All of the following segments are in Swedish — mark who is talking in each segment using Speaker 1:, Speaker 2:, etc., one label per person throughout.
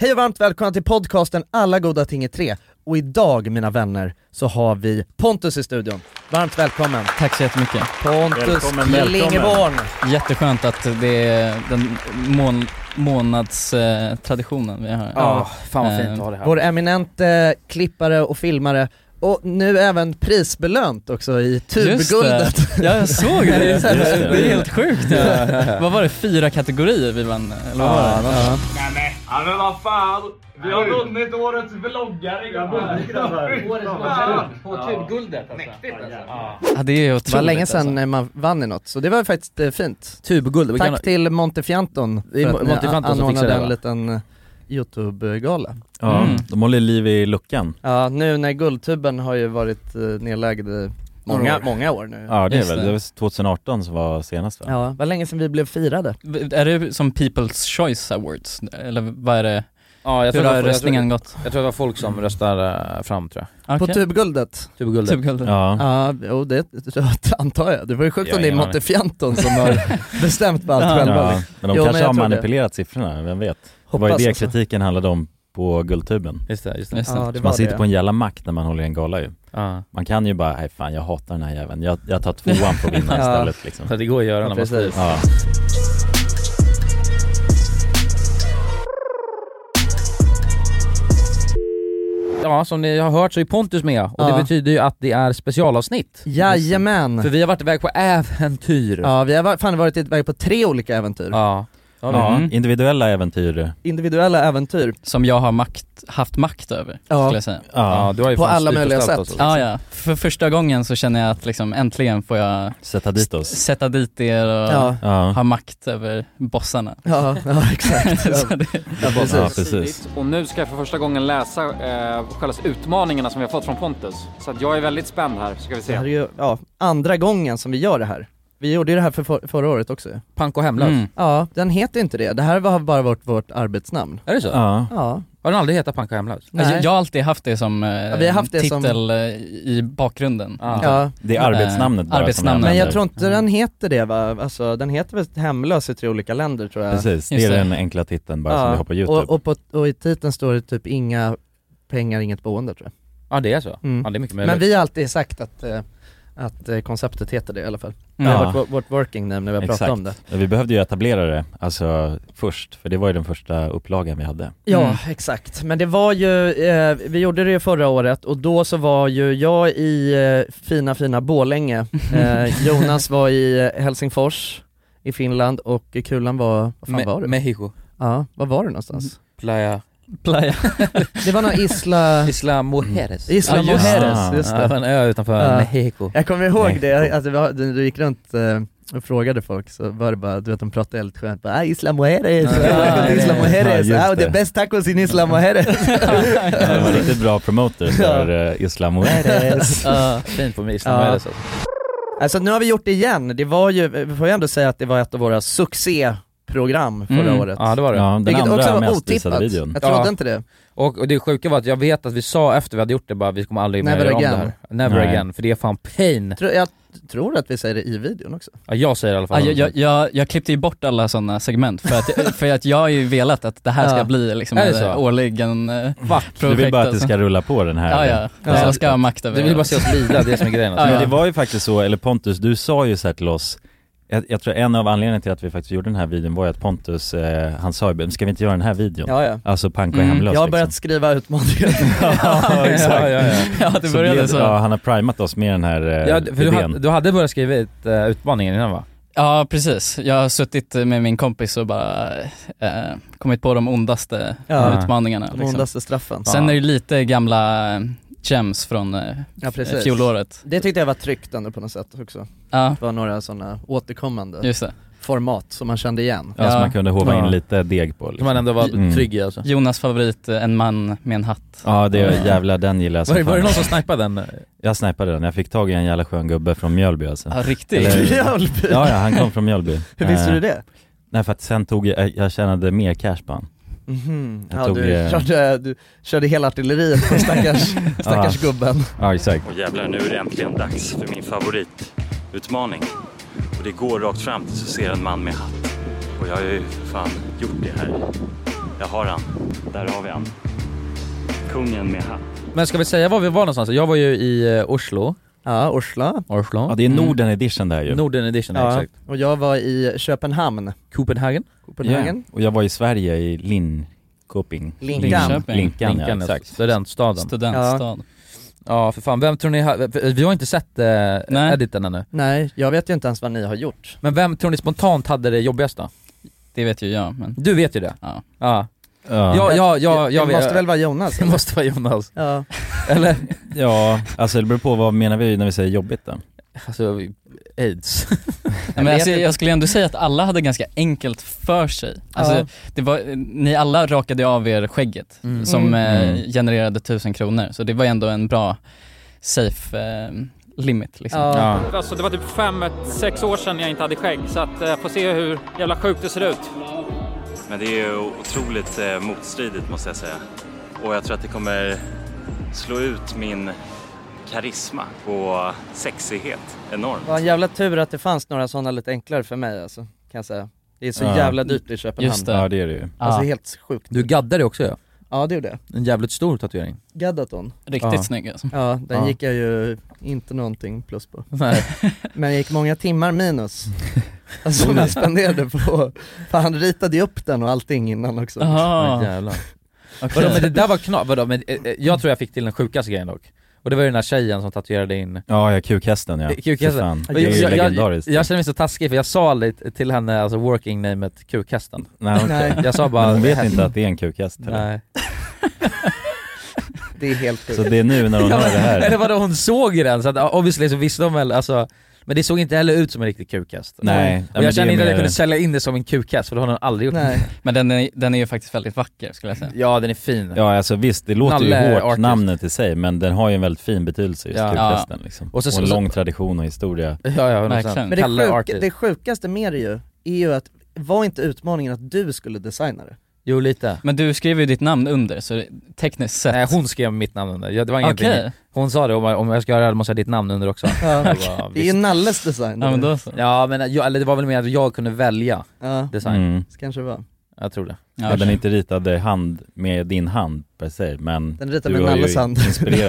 Speaker 1: Hej och varmt välkomna till podcasten Alla goda ting är tre. Och idag mina vänner så har vi Pontus i studion. Varmt välkommen!
Speaker 2: Tack så jättemycket.
Speaker 1: Pontus
Speaker 3: Välkommen, välkommen.
Speaker 1: Klingeborn!
Speaker 2: Jätteskönt att det är den mån, månadstraditionen eh, traditionen vi har.
Speaker 1: Ja,
Speaker 4: fan vad fint att
Speaker 2: Eh,
Speaker 4: ha det här.
Speaker 1: Vår eminente klippare och filmare och nu även prisbelönt också i
Speaker 2: Just det.
Speaker 1: Tubguldet.
Speaker 2: Ja, jag såg det.
Speaker 1: Just
Speaker 2: det.
Speaker 1: det.
Speaker 2: är helt sjukt. Ja. vad var det, fyra kategorier vi vann? Eller vad var det? Ja.
Speaker 5: Nej men, ja, men vad fan. Vi har vunnit årets vloggare grabbar.
Speaker 4: Årets
Speaker 5: fan.
Speaker 4: på Tubguldet alltså. Mäktigt alltså.
Speaker 2: Ja, det är ju
Speaker 1: Det
Speaker 2: otroligt
Speaker 1: var länge sedan
Speaker 2: Alltså.
Speaker 1: eh, man vann i något, så det var faktiskt eh, fint.
Speaker 4: Tubguld, vi
Speaker 1: Tack
Speaker 4: kan-
Speaker 1: till Montefianton för
Speaker 4: Mo-
Speaker 1: att ni
Speaker 4: Montefianton som fixade
Speaker 1: anordnade
Speaker 4: det,
Speaker 1: en liten
Speaker 4: va?
Speaker 1: eh, Youtube-gala.
Speaker 3: Ja,
Speaker 2: Mm.
Speaker 3: de håller liv i luckan.
Speaker 1: Ja, nu när Guldtuben har ju varit eh, nedlagd i många,
Speaker 4: år.
Speaker 1: många år nu.
Speaker 3: Ja det är
Speaker 2: Just
Speaker 3: väl,
Speaker 2: det.
Speaker 3: det var 2018 som var senast va?
Speaker 1: Ja, Typ. det var länge sedan vi blev firade.
Speaker 2: Är det som People's Choice Awards? Eller vad är det?
Speaker 4: Ja, jag
Speaker 2: Hur
Speaker 4: tror, det
Speaker 2: har
Speaker 4: var, jag, tror,
Speaker 2: röstningen gått?
Speaker 4: jag tror det var folk
Speaker 1: Mm.
Speaker 4: som röstar eh, fram tror jag.
Speaker 1: På Tubguldet.
Speaker 4: Tubguldet.
Speaker 2: Typ guld.
Speaker 3: Ja.
Speaker 1: Ja, jo det det antar jag. Det var ju sjukt
Speaker 3: Jag
Speaker 1: om
Speaker 3: har
Speaker 1: det är
Speaker 3: ingen
Speaker 1: Montefianton som har bestämt på allt
Speaker 2: Ja.
Speaker 1: själva.
Speaker 3: Ja, men de
Speaker 1: Jo, men
Speaker 3: kanske
Speaker 1: jag
Speaker 3: har
Speaker 1: tror det.
Speaker 3: manipulerat siffrorna, vem vet? Det var
Speaker 1: Hoppas
Speaker 3: ju det
Speaker 1: alltså.
Speaker 3: kritiken handlade om på Guldtuben.
Speaker 4: Just det, just det.
Speaker 2: Just det.
Speaker 1: Ja, det var
Speaker 3: Man sitter
Speaker 1: det.
Speaker 3: på en jävla makt när man håller i en gala ju.
Speaker 4: Ja.
Speaker 3: Man kan ju bara, nej fan jag hatar den här jäveln, jag, jag tar tvåan på vinna
Speaker 1: Ja.
Speaker 3: istället liksom.
Speaker 4: Så det går att göra
Speaker 1: Ja,
Speaker 4: när man styr.
Speaker 1: precis.
Speaker 3: Ja.
Speaker 4: Ja, som ni har hört så är Pontus med och
Speaker 1: Ja.
Speaker 4: det betyder ju att det är specialavsnitt. För
Speaker 1: Jajamän!
Speaker 4: vi har varit iväg på äventyr.
Speaker 1: Ja, vi har va- fan varit iväg på tre olika äventyr.
Speaker 4: Ja. Ja,
Speaker 3: Ja,
Speaker 2: Mm.
Speaker 3: Individuella äventyr,
Speaker 1: Individuella äventyr.
Speaker 2: Som jag har makt, haft makt över,
Speaker 1: Ja.
Speaker 2: skulle jag säga.
Speaker 3: ja,
Speaker 4: Ja, du har ju
Speaker 1: På
Speaker 4: fan
Speaker 1: alla
Speaker 4: styrt och
Speaker 1: möjliga
Speaker 4: ställt
Speaker 1: sätt.
Speaker 4: oss.
Speaker 2: Ja, ja. För första gången så känner jag att liksom äntligen får jag
Speaker 3: sätta dit oss.
Speaker 2: sätta dit er och
Speaker 1: Ja,
Speaker 3: Ja,
Speaker 2: ha makt över bossarna.
Speaker 1: ja, ja exakt.
Speaker 2: Så
Speaker 1: Ja,
Speaker 2: det-
Speaker 1: ja,
Speaker 3: ja
Speaker 1: precis.
Speaker 3: precis.
Speaker 6: Och nu ska jag för första gången läsa eh, själva utmaningarna som vi har fått från Pontus. Så att jag är väldigt spänd här, ska vi
Speaker 1: Det här är
Speaker 6: se.
Speaker 1: ju ja, andra gången som vi gör det här. Vi gjorde ju det här för för, förra året också ju.
Speaker 4: Pank och hemlös.
Speaker 2: Mm.
Speaker 1: Ja, den heter inte det. Det här har bara varit vårt arbetsnamn.
Speaker 4: Är det så?
Speaker 3: Ja.
Speaker 1: Ja, Mm.
Speaker 4: Har den aldrig hetat Pank och hemlös?
Speaker 1: Nej.
Speaker 2: Alltså, Jag, jag har alltid haft det som eh,
Speaker 1: vi har haft det
Speaker 2: titel
Speaker 1: som-
Speaker 2: eh, i bakgrunden.
Speaker 4: Ja.
Speaker 1: ja.
Speaker 3: Det är arbetsnamnet bara som
Speaker 2: arbetsnamnet.
Speaker 1: äh, Men jag
Speaker 3: gäller.
Speaker 1: tror inte den heter det va? Alltså den heter väl Hemlös i tre olika länder tror jag.
Speaker 3: Precis, det
Speaker 2: Just
Speaker 3: är
Speaker 2: det.
Speaker 3: den enkla titeln bara som vi har på youtube.
Speaker 1: Och, och, på, och i titeln står det typ inga pengar, inget boende tror jag.
Speaker 4: Ja det är så.
Speaker 1: Mm.
Speaker 4: Ja det är mycket
Speaker 1: Men
Speaker 4: möjligt.
Speaker 1: vi har alltid sagt att, eh, att eh, konceptet heter det i alla fall. Det
Speaker 2: Ja.
Speaker 1: har varit vår- vårt working name när vi har pratat
Speaker 3: Exakt.
Speaker 1: om det.
Speaker 3: Vi behövde ju etablera det, alltså först, för det var ju den första upplagan vi hade.
Speaker 1: Ja,
Speaker 2: Mm.
Speaker 1: exakt. Men det var ju, eh, vi gjorde det ju förra året och då så var ju jag i eh, fina fina Borlänge, eh, Jonas var i eh, Helsingfors i Finland och Kulan var, vad fan
Speaker 4: Me-
Speaker 1: var du?
Speaker 4: Mexico.
Speaker 1: Ja, var var du någonstans?
Speaker 4: Playa.
Speaker 2: Playa.
Speaker 1: Det var någon Isla...
Speaker 4: Isla Mujeres.
Speaker 1: Isla
Speaker 2: Ja, just det.
Speaker 1: Mujeres, just
Speaker 4: Ja, det var
Speaker 1: det.
Speaker 4: en ö utanför
Speaker 1: Ja.
Speaker 4: Mexico.
Speaker 1: Jag kommer ihåg
Speaker 3: Nej.
Speaker 1: det, alltså, vi har- du, du gick runt eh, och frågade folk så var det bara, du vet de pratade helt skönt bara ah, Isla Mujeres,
Speaker 4: Ja,
Speaker 1: välkommen till
Speaker 4: det-
Speaker 1: Isla Mujeres,
Speaker 3: ja, just
Speaker 1: ah, the
Speaker 3: det.
Speaker 1: best tacos in Isla Mujeres
Speaker 3: Det var riktigt bra promoter för eh, Islam och
Speaker 4: Ja, Fint på Isla
Speaker 1: Ja.
Speaker 4: Mujeres alltså.
Speaker 1: Alltså nu har vi gjort det igen, det var ju, vi får ju ändå säga att det var ett av våra succéprogram förra
Speaker 2: Mm.
Speaker 1: året
Speaker 4: Ja det var det.
Speaker 3: Ja, den
Speaker 1: Vilket
Speaker 3: andra
Speaker 1: också var
Speaker 3: mest
Speaker 1: otippat,
Speaker 3: visade videon.
Speaker 1: jag trodde
Speaker 4: Ja.
Speaker 1: inte det.
Speaker 4: Och, och det sjuka var att jag vet att vi sa efter vi hade gjort det bara vi kommer aldrig mer
Speaker 1: Never
Speaker 4: göra om det
Speaker 1: again.
Speaker 4: här. Never
Speaker 3: Nej.
Speaker 4: again. För det är fan pain.
Speaker 1: Tror- Jag tror att vi säger det i videon också.
Speaker 4: Ja, jag säger det i alla
Speaker 2: Ja,
Speaker 4: fall.
Speaker 2: jag, jag, jag, jag klippte ju bort alla sådana segment för att, för att jag har ju velat att det här ska
Speaker 1: Ja.
Speaker 2: bli liksom
Speaker 4: Är det
Speaker 2: en
Speaker 4: så?
Speaker 2: årligen eh, projekt.
Speaker 3: Du vill bara att det
Speaker 2: alltså.
Speaker 3: ska rulla på den här.
Speaker 2: Ja, ja.
Speaker 3: Ja.
Speaker 2: Jag ska ha makt över
Speaker 4: Du vill bara se oss lida, det är som är grejen.
Speaker 2: Ja,
Speaker 3: Men
Speaker 4: Alltså.
Speaker 3: det var ju faktiskt så, eller Pontus, du sa ju så här till oss jag, jag tror en av anledningarna till att vi faktiskt gjorde den här videon var ju att Pontus, eh, han sa ju ska vi inte göra den här videon?
Speaker 1: Ja, ja.
Speaker 3: Alltså pank och
Speaker 2: Mm,
Speaker 3: hemlös
Speaker 1: Jag har börjat skriva utmaningar.
Speaker 3: ja, exakt.
Speaker 4: Ja, ja, ja.
Speaker 2: ja, det
Speaker 3: Så
Speaker 2: började
Speaker 3: blev-
Speaker 2: så.
Speaker 3: Ja,
Speaker 2: Ja,
Speaker 3: han har primat oss med den här eh,
Speaker 4: Ja, för du,
Speaker 3: idén.
Speaker 4: hade, du hade börjat skriva ut eh, utmaningen innan va?
Speaker 2: precis. Jag har suttit med min kompis och bara eh, kommit på de ondaste
Speaker 1: Ja.
Speaker 2: utmaningarna.
Speaker 1: De
Speaker 2: liksom.
Speaker 1: ondaste straffen.
Speaker 2: Sen är det lite gamla eh, gems från eh,
Speaker 1: Ja precis.
Speaker 2: fjolåret.
Speaker 1: Det tyckte jag var tryggt ändå på något sätt också.
Speaker 2: Ja,
Speaker 1: Det var några sådana återkommande
Speaker 2: just det.
Speaker 1: format som man kände igen.
Speaker 3: ja, så
Speaker 2: ja.
Speaker 3: man kunde hova
Speaker 4: Ja.
Speaker 3: in lite deg på
Speaker 4: Som
Speaker 3: liksom.
Speaker 4: man ändå var
Speaker 3: Mm.
Speaker 4: trygg i alltså.
Speaker 2: Jonas favorit, eh, en man med en hatt.
Speaker 3: Ja det är jävlar, den gillar jag som
Speaker 4: Var, var det
Speaker 3: fan.
Speaker 4: någon som snipade den?
Speaker 3: Jag snipade den, jag fick tag i en jävla skön gubbe från Mjölby alltså.
Speaker 2: Ja,
Speaker 3: Eller-
Speaker 2: riktigt.
Speaker 1: Mjölby!
Speaker 3: Ja, ja han kom från Mjölby.
Speaker 1: Hur visste
Speaker 3: Eh,
Speaker 1: du det?
Speaker 3: Nej för att sen tog jag, jag tjänade mer cash på han.
Speaker 1: Mhm.
Speaker 3: jag
Speaker 1: Ja,
Speaker 3: tog,
Speaker 1: du,
Speaker 3: eh,
Speaker 1: körde, du körde hela artilleriet på stackars, stackars gubben.
Speaker 3: Ja exakt.
Speaker 7: Och jävlar, nu är det äntligen dags för min favoritutmaning. Och det går rakt fram tills du ser en man med hatt. Och jag har ju för fan gjort det här.
Speaker 5: Jag har han. Där har vi han. Kungen med hatt.
Speaker 8: Men ska vi säga var vi var någonstans? Jag var ju i eh, Oslo,
Speaker 1: Ja, Oslo.
Speaker 8: Oslo.
Speaker 3: Ja det är Norden edition där ju.
Speaker 8: Norden edition, ja.
Speaker 1: Ja.
Speaker 8: exakt.
Speaker 1: Och jag var i Köpenhamn,
Speaker 8: Copenhagen?
Speaker 1: Copenhagen.
Speaker 3: Ja. Och jag var i Sverige i Linköping.
Speaker 1: Linkan.
Speaker 2: Linköping.
Speaker 3: Linkan, ja,
Speaker 8: Lincoln,
Speaker 3: exakt.
Speaker 8: studentstaden.
Speaker 2: Studentstad.
Speaker 8: Ja för fan, vem tror ni, ha- vi har inte sett eh,
Speaker 2: Nej.
Speaker 8: editen ännu.
Speaker 1: Nej, jag vet ju inte ens vad ni har gjort.
Speaker 8: Men vem tror ni spontant hade det jobbigast då?
Speaker 2: Det vet ju jag men...
Speaker 8: Du vet ju det.
Speaker 2: Ja.
Speaker 8: Ja,
Speaker 3: Ja.
Speaker 8: ja, ja, ja
Speaker 1: det
Speaker 8: jag vet.
Speaker 1: måste väl vara Jonas?
Speaker 8: det
Speaker 1: eller?
Speaker 8: måste vara Jonas.
Speaker 1: Ja.
Speaker 8: Eller?
Speaker 3: ja, alltså det beror på vad menar vi när vi säger jobbigt då?
Speaker 8: Alltså, aids.
Speaker 2: Nej, men
Speaker 1: vet
Speaker 2: alltså,
Speaker 1: inte.
Speaker 2: jag skulle ändå säga att alla hade ganska enkelt för sig. Alltså,
Speaker 1: Ja.
Speaker 2: det var, ni alla rakade av er skägget
Speaker 8: Mm.
Speaker 2: som eh,
Speaker 3: Mm.
Speaker 2: genererade tusen kronor. Så det var ändå en bra safe eh, limit liksom.
Speaker 1: Ja.
Speaker 3: Ja.
Speaker 9: Alltså det var typ fem, sex år sedan jag inte hade skägg så att eh, får se hur jävla sjukt det ser ut.
Speaker 5: Men det är ju otroligt eh, motstridigt måste jag säga. Och jag tror att det kommer slå ut min karisma och sexighet enormt.
Speaker 1: Det var en jävla tur att det fanns några sådana lite enklare för mig alltså, kan jag säga. Det är så
Speaker 3: Ja.
Speaker 1: jävla dyrt i Köpenhamn.
Speaker 2: Just det.
Speaker 3: Ja det är det ju.
Speaker 1: Alltså
Speaker 2: Ja.
Speaker 1: helt sjukt.
Speaker 8: Du gaddade också ja.
Speaker 1: Ja det gjorde jag.
Speaker 8: En jävligt stor tatuering.
Speaker 1: Gaddaton.
Speaker 2: Riktigt
Speaker 8: Ja.
Speaker 2: snygg alltså.
Speaker 1: Ja, den
Speaker 8: Ja.
Speaker 1: gick jag ju inte någonting plus på.
Speaker 8: Nej.
Speaker 1: Men jag gick många timmar minus. Alltså som jag spenderade på, för han ritade ju upp den och allting innan också.
Speaker 8: Ja,
Speaker 2: Jaha,
Speaker 8: jävlar.
Speaker 2: okej.
Speaker 8: Vadå men det där var knas, vadå men eh, eh, jag tror jag fick till den sjukaste grejen dock. Och det var ju den där tjejen som tatuerade in
Speaker 3: Ja, ja kukhästen ja.
Speaker 8: Kukhästen.
Speaker 3: Fy fan,
Speaker 1: Jag-
Speaker 3: Det är ju
Speaker 8: jag, jag,
Speaker 3: legendariskt.
Speaker 8: jag känner mig så taskig för jag sa lite till henne, alltså working namet kukhästen.
Speaker 3: Nej, okej.
Speaker 1: Nej,
Speaker 8: Jag sa
Speaker 3: Men
Speaker 8: bara
Speaker 3: hon vet inte att det är en kukhäst eller?
Speaker 8: Nej.
Speaker 1: det är helt sjukt.
Speaker 3: Så det är nu när hon hör det här.
Speaker 8: Eller vadå hon såg ju den så att ja, obviously så visste de väl alltså Men det såg inte heller ut som en riktig kukhäst.
Speaker 3: Nej, nej,
Speaker 8: Och
Speaker 3: men
Speaker 8: jag känner
Speaker 3: det är
Speaker 8: inte att jag
Speaker 3: mer-
Speaker 8: kunde sälja in det som en kukhäst för det har hon aldrig gjort.
Speaker 1: Nej,
Speaker 2: Men den är, den är ju faktiskt väldigt vacker skulle jag säga.
Speaker 8: Ja den är fin.
Speaker 3: Ja alltså visst, det låter
Speaker 8: Nalle
Speaker 3: ju hårt
Speaker 8: Artist.
Speaker 3: namnet i sig men den har ju en väldigt fin betydelse just
Speaker 8: Ja.
Speaker 3: kukhästen liksom.
Speaker 8: Och
Speaker 3: Och,
Speaker 8: så- så-
Speaker 3: en
Speaker 8: så-
Speaker 3: lång tradition och historia.
Speaker 8: Ja, ja, 100%.
Speaker 2: Verkligen.
Speaker 1: men det,
Speaker 8: Kalle
Speaker 1: sjuka,
Speaker 8: Artist.
Speaker 1: det sjukaste med det ju, är ju att, var inte utmaningen att du skulle designa det?
Speaker 8: Jo lite.
Speaker 2: Men du skrev ju ditt namn under så tekniskt sett...
Speaker 8: Nej hon skrev mitt namn under, Ja, det var ingenting.
Speaker 2: Okej,
Speaker 8: Hon sa det, om jag, om jag ska göra det här måste jag ha ditt namn under också.
Speaker 1: Ja.
Speaker 8: Jag bara,
Speaker 1: Det är ju
Speaker 8: visst.
Speaker 1: Nalles design.
Speaker 2: ja men då så.
Speaker 8: Ja men jag, eller det var väl mer att jag kunde välja
Speaker 1: Ja,
Speaker 8: design,
Speaker 3: Mm.
Speaker 1: så kanske det var.
Speaker 8: jag tror det.
Speaker 3: Ja, den är inte ritad i hand med din hand per se men
Speaker 1: Den ritar
Speaker 3: du
Speaker 1: med
Speaker 3: har ju
Speaker 1: Nalles hand.
Speaker 3: inspirerat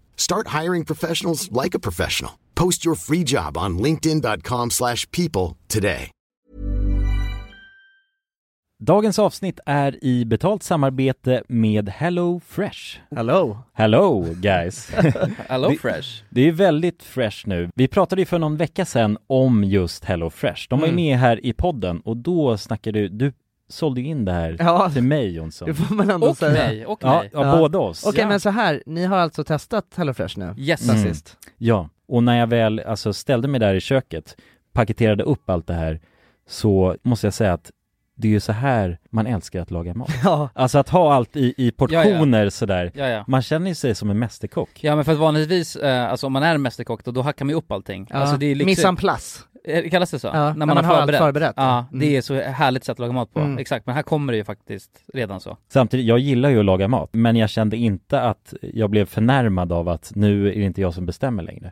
Speaker 10: Start hiring professionals like a professional. Post your free job on linkedin.com/people slash people today.
Speaker 3: Dagens avsnitt är i betalt samarbete med Hello Fresh.
Speaker 1: Hello!
Speaker 3: Hello guys!
Speaker 8: Hello
Speaker 3: Det-
Speaker 8: Fresh.
Speaker 3: Det är väldigt fresh nu. Vi pratade ju för någon vecka sedan om just Hello Fresh. De var ju
Speaker 8: Mm.
Speaker 3: med här i podden och då snackade du, du sålde ju in det här
Speaker 1: Ja,
Speaker 3: till mig Jonsson.
Speaker 1: det får man ändå
Speaker 2: Och
Speaker 1: säga.
Speaker 2: mig, och
Speaker 3: Ja,
Speaker 2: mig.
Speaker 3: ja,
Speaker 1: Ja.
Speaker 3: båda oss.
Speaker 1: Okej men så här, ni har alltså testat HelloFresh nu?
Speaker 8: Yes.
Speaker 1: Sen
Speaker 3: Mm.
Speaker 1: sist?
Speaker 3: Ja, och när jag väl alltså, ställde mig där i köket, paketerade upp allt det här, så måste jag säga att det är ju så här man älskar att laga mat.
Speaker 2: Ja.
Speaker 3: Alltså att ha allt i, i portioner
Speaker 2: Ja, ja.
Speaker 3: sådär.
Speaker 2: Ja, ja.
Speaker 3: Man känner ju sig som en mästerkock.
Speaker 2: Ja men för att vanligtvis, eh, alltså om man är en mästerkock då, då hackar man ju upp allting.
Speaker 1: Ja.
Speaker 2: Alltså det är
Speaker 1: Mise en place.
Speaker 2: Eh, Kallas det så?
Speaker 1: Ja, när man har allt förberett.
Speaker 2: Ja,
Speaker 1: Mm.
Speaker 2: det är så härligt sätt att laga mat på.
Speaker 3: Mm.
Speaker 2: Exakt, men här kommer det ju faktiskt redan så.
Speaker 3: Samtidigt, jag gillar ju att laga mat, men jag kände inte att jag blev förnärmad av att nu är det inte jag som bestämmer längre.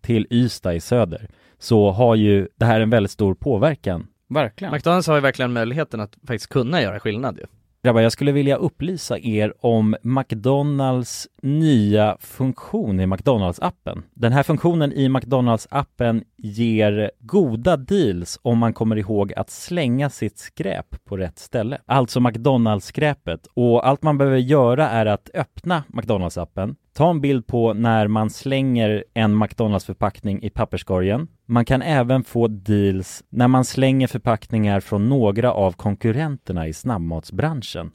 Speaker 3: till Ystad i söder, så har ju det här en väldigt stor påverkan
Speaker 2: Verkligen.
Speaker 1: McDonalds har ju verkligen möjligheten att faktiskt kunna göra skillnad ju.
Speaker 3: Grabbar, jag skulle vilja upplysa er om McDonalds nya funktion i McDonalds-appen. Den här funktionen i McDonalds-appen ger goda deals om man kommer ihåg att slänga sitt skräp på rätt ställe. Alltså McDonalds-skräpet. Och allt man behöver göra är att öppna McDonalds-appen, ta en bild på när man slänger en McDonalds-förpackning i papperskorgen. Man kan även få deals när man slänger förpackningar från några av konkurrenterna i snabbmatsbranschen.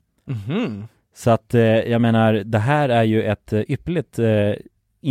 Speaker 1: Mhm.
Speaker 3: Så att eh, jag menar, det här är ju ett eh, ypperligt eh,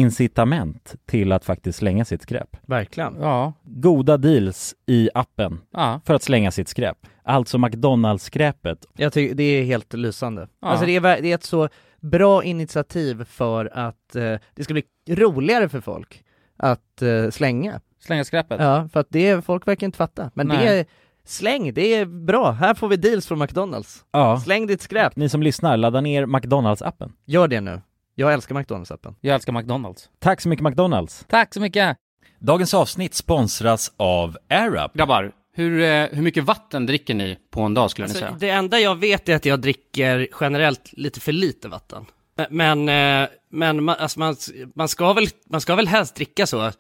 Speaker 3: incitament till att faktiskt slänga sitt skräp.
Speaker 1: Verkligen.
Speaker 2: Ja.
Speaker 3: Goda deals i appen
Speaker 2: Ja.
Speaker 3: för att slänga sitt skräp. Alltså McDonalds-skräpet.
Speaker 1: Jag tycker det är helt lysande.
Speaker 3: Ja.
Speaker 1: Alltså det är, ver- det är ett så bra initiativ för att eh, det ska bli roligare för folk att eh, slänga.
Speaker 2: Slänga skräpet?
Speaker 1: Ja, för att det, folk verkar inte fatta. Men det
Speaker 3: Nej.
Speaker 1: är, släng, det är bra. Här får vi deals från McDonalds.
Speaker 3: Ja.
Speaker 1: Släng ditt skräp.
Speaker 3: Ni som lyssnar, ladda ner McDonalds-appen.
Speaker 1: Gör det nu. Jag älskar McDonalds-appen.
Speaker 2: Jag älskar McDonalds.
Speaker 3: Tack så mycket McDonalds.
Speaker 2: Tack så mycket!
Speaker 3: Dagens avsnitt sponsras av AirUp.
Speaker 11: Grabbar, hur, eh, hur mycket vatten dricker ni på en dag skulle ni
Speaker 12: Alltså,
Speaker 11: säga?
Speaker 12: det enda jag vet är att jag dricker generellt lite för lite vatten. Men, eh, men man, alltså man, man, ska väl, man ska väl helst dricka så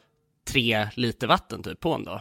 Speaker 12: tre liter vatten typ på en dag.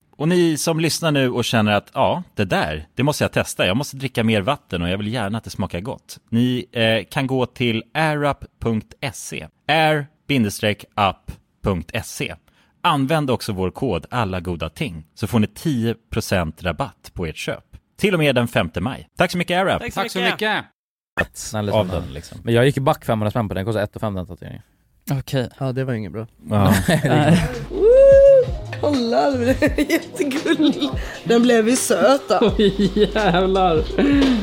Speaker 3: Och ni som lyssnar nu och känner att ja, det där, det måste jag testa. Jag måste dricka mer vatten och jag vill gärna att det smakar gott. Ni eh, kan gå till airup.se. air-up.se. Använd också vår kod alla goda ting så får ni 10% rabatt på ert köp. Till och med den 5 maj. Tack så mycket AirUp!
Speaker 11: Tack så mycket.
Speaker 4: Snälla,
Speaker 3: av
Speaker 4: snälla.
Speaker 3: den, liksom.
Speaker 4: Men jag gick ju back 500 spänn på den, kostade 1 500 tatueringen
Speaker 2: Okej.
Speaker 1: Ja, det var inget bra.
Speaker 3: Ja.
Speaker 13: Kolla, den är jättegullig. Den blev ju söt.
Speaker 14: Oj jävlar!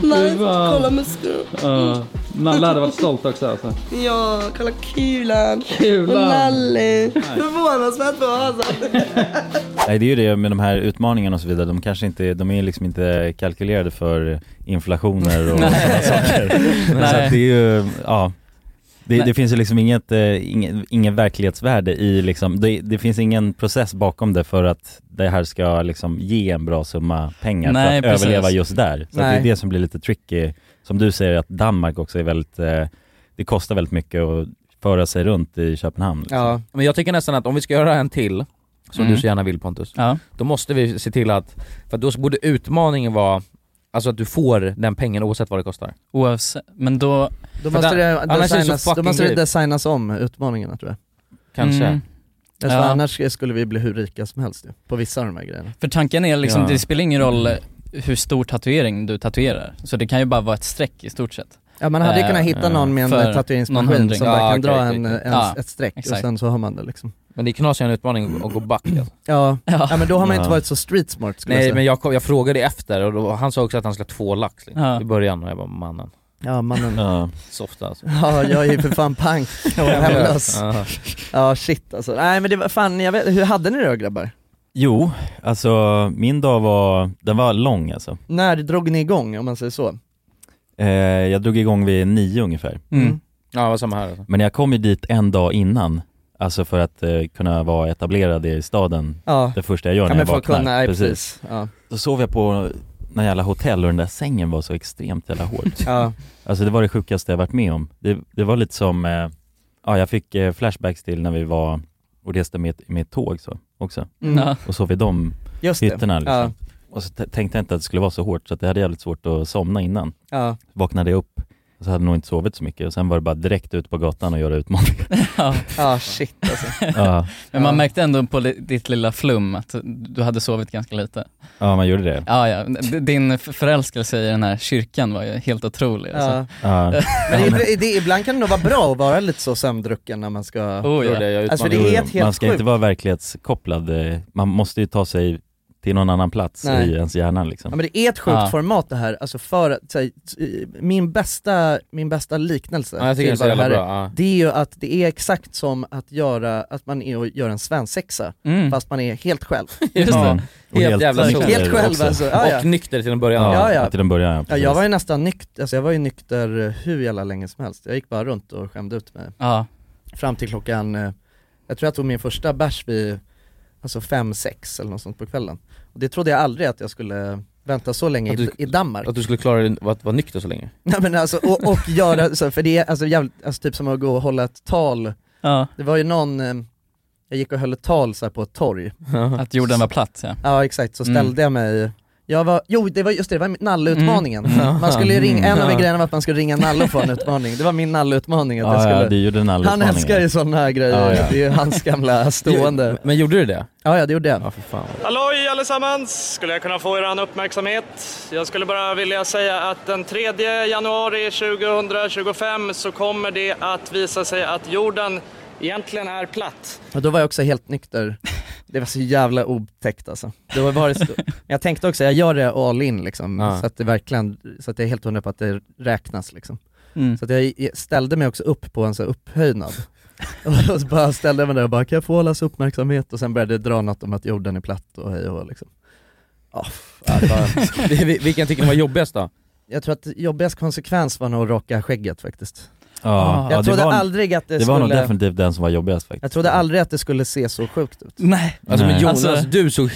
Speaker 13: Nej,
Speaker 14: Fy fan.
Speaker 13: kolla musklerna.
Speaker 14: Ja, Nalle hade varit stolt också alltså.
Speaker 13: Ja, kolla kulan.
Speaker 14: Kulan.
Speaker 13: Och Nalle.
Speaker 3: Nej.
Speaker 13: Förvånansvärt bra alltså.
Speaker 3: Nej det är ju det med de här utmaningarna och så vidare, de kanske inte, de är liksom inte kalkylerade för inflationer och sådana saker. Men så att det är ju, ja Det, det finns ju liksom inget, eh, ingen, ingen verklighetsvärde i liksom, det, det finns ingen process bakom det för att det här ska liksom ge en bra summa pengar
Speaker 2: Nej,
Speaker 3: för att
Speaker 2: precis.
Speaker 3: överleva just där. Så att det är
Speaker 2: Nej.
Speaker 3: det som blir lite tricky. Som du säger att Danmark också är väldigt, eh, det kostar väldigt mycket att föra sig runt i Köpenhamn. Liksom.
Speaker 4: Ja. Men jag tycker nästan att om vi ska göra en till, som
Speaker 3: Mm.
Speaker 4: du så gärna vill Pontus,
Speaker 2: Ja.
Speaker 4: då måste vi se till att, för att då borde utmaningen vara Alltså att du får den pengen oavsett vad det kostar.
Speaker 2: Oavsett, men då...
Speaker 1: Då
Speaker 4: För
Speaker 1: måste
Speaker 4: det-
Speaker 1: det,
Speaker 4: annars är det så
Speaker 1: designas, då
Speaker 4: fucking
Speaker 1: måste det
Speaker 4: dyrt.
Speaker 1: designas om utmaningarna tror jag.
Speaker 4: Kanske. Mm.
Speaker 1: Alltså,
Speaker 2: Ja.
Speaker 1: Annars skulle vi bli hur rika som helst ju, på vissa av de här grejerna.
Speaker 2: För tanken är liksom,
Speaker 1: Ja.
Speaker 2: det spelar ingen roll hur stor tatuering du tatuerar. Så det kan ju bara vara ett streck i stort sett.
Speaker 1: Ja man hade ju
Speaker 2: Eh,
Speaker 1: kunnat hitta någon med en
Speaker 2: för någon
Speaker 1: tatueringsmaskin
Speaker 2: hundring.
Speaker 1: som bara
Speaker 2: Ja,
Speaker 1: kan
Speaker 2: okej,
Speaker 1: dra
Speaker 2: okej,
Speaker 1: en,
Speaker 2: okej.
Speaker 1: en,
Speaker 2: Ja,
Speaker 1: ett streck och
Speaker 2: exakt.
Speaker 1: sen så har man det liksom.
Speaker 4: Men det är knasigt en utmaning att gå back alltså.
Speaker 1: Ja, ja. men då har man
Speaker 4: Ja.
Speaker 1: inte varit så street smart skulle
Speaker 4: Nej
Speaker 1: jag
Speaker 4: men
Speaker 1: säga.
Speaker 4: jag, kom, jag frågade efter och då, han sa också att han skulle ha två lax liksom,
Speaker 1: Ja.
Speaker 4: i början och jag bara mannen.
Speaker 1: Ja mannen.
Speaker 3: Ja.
Speaker 4: Soft alltså.
Speaker 1: Ja jag är ju för fan pank och hemlös.
Speaker 4: Ja.
Speaker 1: Ja shit alltså. Nej men det var fan, jag vet, hur hade ni det då grabbar?
Speaker 3: Jo, alltså min dag var, den var lång alltså.
Speaker 1: När drog ni igång om man säger så?
Speaker 3: Eh, jag drog igång vid nio ungefär.
Speaker 1: Mm.
Speaker 4: Ja det var samma här alltså.
Speaker 3: Men jag kom ju dit en dag innan, alltså för att eh, kunna vara etablerad i staden
Speaker 1: Ja.
Speaker 3: det första jag gör
Speaker 1: Ja,
Speaker 3: när
Speaker 1: men
Speaker 3: jag
Speaker 1: för att
Speaker 3: vaknar.
Speaker 1: kunna, nej, precis. Ja.
Speaker 3: Då sov jag på något jävla hotell och den där sängen var så extremt jävla hård.
Speaker 1: Ja.
Speaker 3: Alltså det var det sjukaste jag varit med om. Det, det var lite som, eh, ja jag fick eh, flashbacks till när vi var och reste med, med tåg så, också.
Speaker 1: Mm. Ja.
Speaker 3: Och sov i de
Speaker 1: Just det.
Speaker 3: hytterna liksom.
Speaker 1: Ja.
Speaker 3: Och så t- tänkte jag inte att det skulle vara så hårt så att jag hade jävligt svårt att somna innan.
Speaker 1: Ja.
Speaker 3: Vaknade jag upp och så hade jag nog inte sovit så mycket och sen var det bara direkt ut på gatan och göra utmaningar.
Speaker 2: Ja,
Speaker 1: ah, shit alltså.
Speaker 3: Ja.
Speaker 2: Men man märkte ändå på li- ditt lilla flum att du hade sovit ganska lite.
Speaker 3: Ja, man gjorde det.
Speaker 2: Ja, ja. D- Din f- förälskelse i den här kyrkan var ju helt otrolig.
Speaker 1: Ja.
Speaker 2: Alltså.
Speaker 3: Ja.
Speaker 1: Men i- i- det, ibland kan det nog vara bra att vara lite så sömndrucken när man ska...
Speaker 2: Oh, ja.
Speaker 1: Alltså för det är ett
Speaker 3: Man
Speaker 1: helt
Speaker 3: ska
Speaker 1: sjukt.
Speaker 3: inte vara verklighetskopplad, eh, man måste ju ta sig till någon annan plats
Speaker 1: Nej.
Speaker 3: i ens hjärna liksom.
Speaker 1: Ja, men det är ett sjukt
Speaker 3: Ja.
Speaker 1: format det här, alltså för att, så här, t- min, bästa, min bästa liknelse
Speaker 4: Ja, jag tycker det är så
Speaker 1: vad
Speaker 4: jävla
Speaker 1: här
Speaker 4: bra,
Speaker 1: är,
Speaker 4: ja.
Speaker 1: det är ju att det är exakt som att göra, att man är och gör en svensexa,
Speaker 4: Mm.
Speaker 1: fast man är helt själv.
Speaker 4: Just det.
Speaker 1: Ja.
Speaker 4: Helt, jävla
Speaker 1: helt,
Speaker 4: nykter
Speaker 1: själv
Speaker 4: också.
Speaker 1: alltså. Ja, ja.
Speaker 4: Och nykter till en början.
Speaker 1: Ja, ja.
Speaker 3: Till en början, ja,
Speaker 1: ja,
Speaker 3: precis.
Speaker 1: jag var ju nästan nykter, alltså jag var ju nykter eh, hur jävla länge som helst. Jag gick bara runt och skämde ut mig.
Speaker 2: Ja.
Speaker 1: Fram till klockan, eh, jag tror jag tog min första bärs vid alltså fem, sex eller något sånt på kvällen. Och det trodde jag aldrig att jag skulle vänta så länge i,
Speaker 4: Att du-
Speaker 1: i Danmark.
Speaker 4: Att du skulle klara dig att vara nykter så länge.
Speaker 1: Nej men alltså, och, och göra, så, för det är alltså, jävligt, alltså typ som att gå och hålla ett tal.
Speaker 2: Ja.
Speaker 1: Det var ju någon, eh, jag gick och höll ett tal så här, på ett torg.
Speaker 2: Att jorden var platt ja.
Speaker 1: Ja exakt, så ställde
Speaker 2: Mm.
Speaker 1: jag mig jag var, jo det var just det, det var nalleutmaningen.
Speaker 2: Mm.
Speaker 1: Man skulle ju ringa, en av
Speaker 2: Mm.
Speaker 1: grejerna var att man skulle ringa Nalle och få en utmaning. Det var min nalleutmaning. Att
Speaker 3: Ja,
Speaker 1: jag
Speaker 3: ja,
Speaker 1: skulle...
Speaker 3: det är ju den
Speaker 1: han
Speaker 3: nalleutmaningen.
Speaker 1: älskar ju sådana här grejer,
Speaker 3: Ja, ja.
Speaker 1: det är ju hans gamla stående.
Speaker 4: Men gjorde du det?
Speaker 1: Ja, ja det gjorde jag. Ja,
Speaker 4: för fan.
Speaker 5: Halloj allesammans! Skulle jag kunna få er uppmärksamhet? Jag skulle bara vilja säga att den 3 januari 2025 så kommer det att visa sig att jorden egentligen är platt.
Speaker 1: Och då var jag också helt nykter. Det var så jävla otäckt alltså. Det var bara så... Men jag tänkte också, jag gör det all in liksom,
Speaker 4: Ja.
Speaker 1: så att det verkligen, så att jag är helt hundra på att det räknas liksom.
Speaker 2: Mm.
Speaker 1: Så att jag ställde mig också upp på en så här upphöjnad. och så bara ställde jag mig där och bara, kan jag få allas uppmärksamhet? Och sen började jag dra något om att jorden är platt och hej och hå, liksom. Ja, f- ja, det var...
Speaker 4: Vil- Vilken tycker ni var jobbigast då?
Speaker 1: Jag tror att jobbigast konsekvens var nog raka skägget faktiskt.
Speaker 3: Ja, ja,
Speaker 1: jag
Speaker 3: det
Speaker 1: trodde
Speaker 3: var-
Speaker 1: aldrig att det,
Speaker 3: Det var
Speaker 1: skulle...
Speaker 3: nog definitivt den som var jobbigast faktiskt.
Speaker 1: Jag trodde aldrig att det skulle se så sjukt ut.
Speaker 2: Nej.
Speaker 3: Alltså, men Nej. Jonas,
Speaker 4: du såg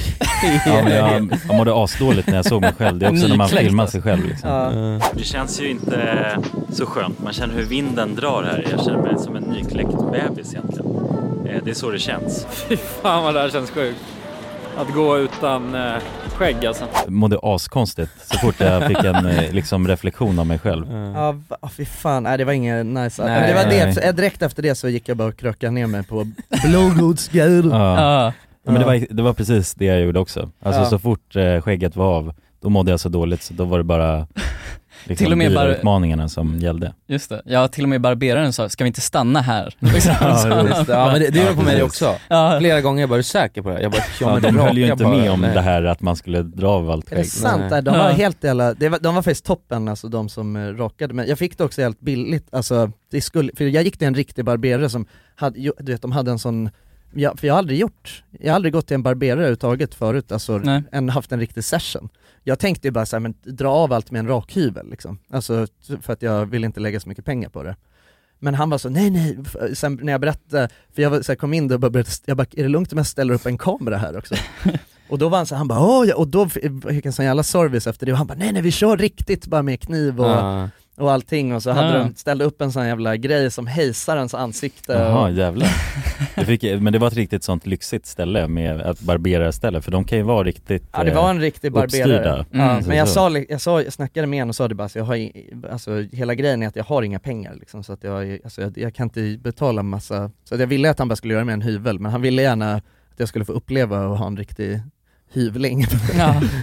Speaker 3: Ja, men jag, jag mådde asdåligt när jag såg mig själv, det är också när man
Speaker 1: Nykläckt,
Speaker 3: filmar
Speaker 1: alltså.
Speaker 3: sig själv liksom.
Speaker 7: Det känns ju inte så skönt. Man känner hur vinden drar här. Jag känner mig som en nykläckt bebis egentligen. Eh, Det är så det känns.
Speaker 6: Fy fan vad det här känns sjukt. Att gå utan eh, skägg alltså.
Speaker 3: Mådde askonstigt så fort jag fick en eh, liksom, reflektion av mig själv.
Speaker 1: Ja, va- ah, fy fan, nej det var inget nice
Speaker 3: Nej.
Speaker 1: Men det var det,
Speaker 3: Nej.
Speaker 1: så, eh, direkt efter det så gick jag bara och krökade ner mig på blågodsgud
Speaker 3: Ja. Men det var, det var precis det jag gjorde också. Alltså
Speaker 1: Ja.
Speaker 3: så fort eh, skägget var av, då mådde jag så dåligt så då var det bara liksom,
Speaker 2: Till och med bara-
Speaker 3: utmaningarna som gällde.
Speaker 2: Just det. Ja, till och med barberaren sa, ska vi inte stanna här? Liksom, så.
Speaker 4: Ja, just det. ja men det, det gjorde på mig
Speaker 3: precis.
Speaker 4: också. Flera gånger jag bara, är du säker på det här? Jag bara,
Speaker 3: Ja,
Speaker 4: men
Speaker 3: de
Speaker 4: raka
Speaker 3: höll ju inte
Speaker 4: bara,
Speaker 3: med om
Speaker 4: nej.
Speaker 3: det här att man skulle dra av allt
Speaker 1: Är
Speaker 3: skägg.
Speaker 1: det sant? Nej. De var helt jävla, det var, de var faktiskt toppen alltså de som eh, rakade mig. Jag fick det också helt billigt, alltså, det skulle, för jag gick till en riktig barberare som hade, ju- du vet de hade en sån Ja, för jag har aldrig gjort, jag har aldrig gått till en barberare överhuvudtaget förut, alltså
Speaker 2: Nej.
Speaker 1: en, haft en riktig session. Jag tänkte ju bara såhär, men dra av allt med en rakhyvel liksom. Alltså för att jag vill inte lägga så mycket pengar på det. Men han var så, nej nej, F- sen när jag berättade, för jag var, så här, kom in där och bara, berättade, jag bara, är det lugnt om jag ställer upp en kamera här också? och då var han så här, han bara, åh, ja. och då f- fick en sån jävla service efter det, och han bara, nej nej vi kör riktigt bara med kniv och,
Speaker 3: Ah.
Speaker 1: och allting, och så hade
Speaker 3: Ah.
Speaker 1: de ställt upp en sån jävla grej som hejsar ens ansikte.
Speaker 3: Jaha,
Speaker 1: och,
Speaker 3: jävlar. Det fick, men det var ett riktigt sånt lyxigt ställe med ett barberarställe, för de kan ju vara riktigt
Speaker 1: Ja det var en riktig barberare. Ja, men jag, sa, li- jag, sa, jag snackade med honom och sa det bara, så jag har, i- alltså, hela grejen är att jag har inga pengar liksom, så att jag, alltså, jag, jag kan inte betala massa, så att jag ville att han bara skulle göra med en hyvel, men han ville gärna att jag skulle få uppleva och ha en riktig hyvling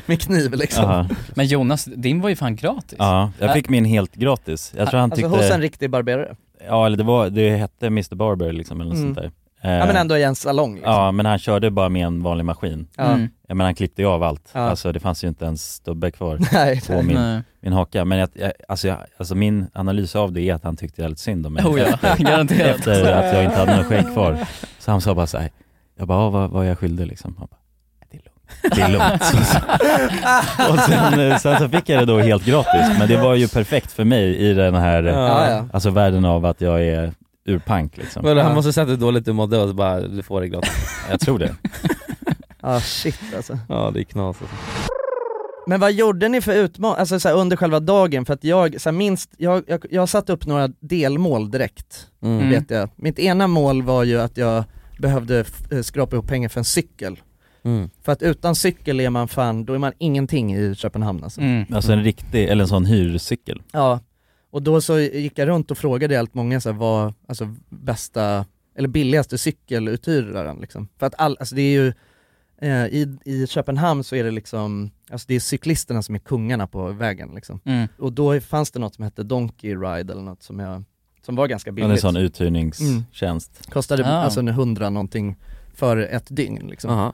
Speaker 1: med kniv liksom.
Speaker 3: eh, Jaha.
Speaker 2: Men Jonas, din var ju fan gratis.
Speaker 3: Ja, jag fick
Speaker 2: Äh,
Speaker 3: min helt gratis. Jag tror han
Speaker 1: alltså
Speaker 3: tyckte...
Speaker 1: hos en riktig barberare.
Speaker 3: Ja eller det var, det hette Mr Barber liksom eller något
Speaker 1: Mm.
Speaker 3: sånt där Eh,
Speaker 1: Ja men ändå i en salong liksom.
Speaker 3: Ja men han körde bara med en vanlig maskin
Speaker 1: Ja. Mm.
Speaker 3: Ja, Men han klippte ju av allt,
Speaker 1: Ja.
Speaker 3: alltså det fanns ju inte ens stubbe kvar
Speaker 1: Nej,
Speaker 3: på
Speaker 1: nej.
Speaker 3: Min,
Speaker 1: Nej.
Speaker 3: min haka Men jag, jag, alltså, jag, alltså min analys av det är att han tyckte jävligt synd om mig
Speaker 2: Oh ja,
Speaker 3: efter,
Speaker 2: garanterat.
Speaker 3: efter att jag inte hade några skägg kvar Så han sa bara såhär, jag bara "Ah, vad, vad är jag skyldig liksom? Han bara, det är lugnt, det är lugnt så, så. Och sen, eh, sen så fick jag det då helt gratis, men det var ju perfekt för mig i den här, eh,
Speaker 4: Ja, ja.
Speaker 3: alltså världen av att jag är urpank liksom
Speaker 4: Men han måste ha sett hur dåligt du mådde och bara, du får det gratis.
Speaker 3: Jag tror det.
Speaker 1: Ah shit alltså.
Speaker 4: Ja det är knas alltså.
Speaker 1: Men vad gjorde ni för utmaning, alltså så här, under själva dagen? För att jag, så här, minst, jag, jag, jag satte upp några delmål direkt,
Speaker 4: Mm.
Speaker 1: vet jag. Mitt ena mål var ju att jag behövde f- eh, skrapa ihop pengar för en cykel.
Speaker 4: Mm.
Speaker 1: För att utan cykel är man fan, då är man ingenting i Köpenhamn alltså.
Speaker 2: Mm.
Speaker 3: Alltså en riktig, eller en sån hyrcykel
Speaker 1: Ja, och då så gick jag runt och frågade allt många så här, vad, alltså bästa, eller billigaste cykeluthyraren liksom. För att all, alltså det är ju, eh, i, i Köpenhamn så är det liksom, alltså det är cyklisterna som är kungarna på vägen liksom.
Speaker 2: Mm.
Speaker 1: Och då fanns det något som hette Donkey Ride eller något som jag, som var ganska
Speaker 3: Ja, det är en
Speaker 1: billigt.
Speaker 3: sån uthyrningstjänst
Speaker 1: Kostade
Speaker 3: Ah.
Speaker 1: alltså en hundra någonting för ett dygn liksom.
Speaker 3: Aha.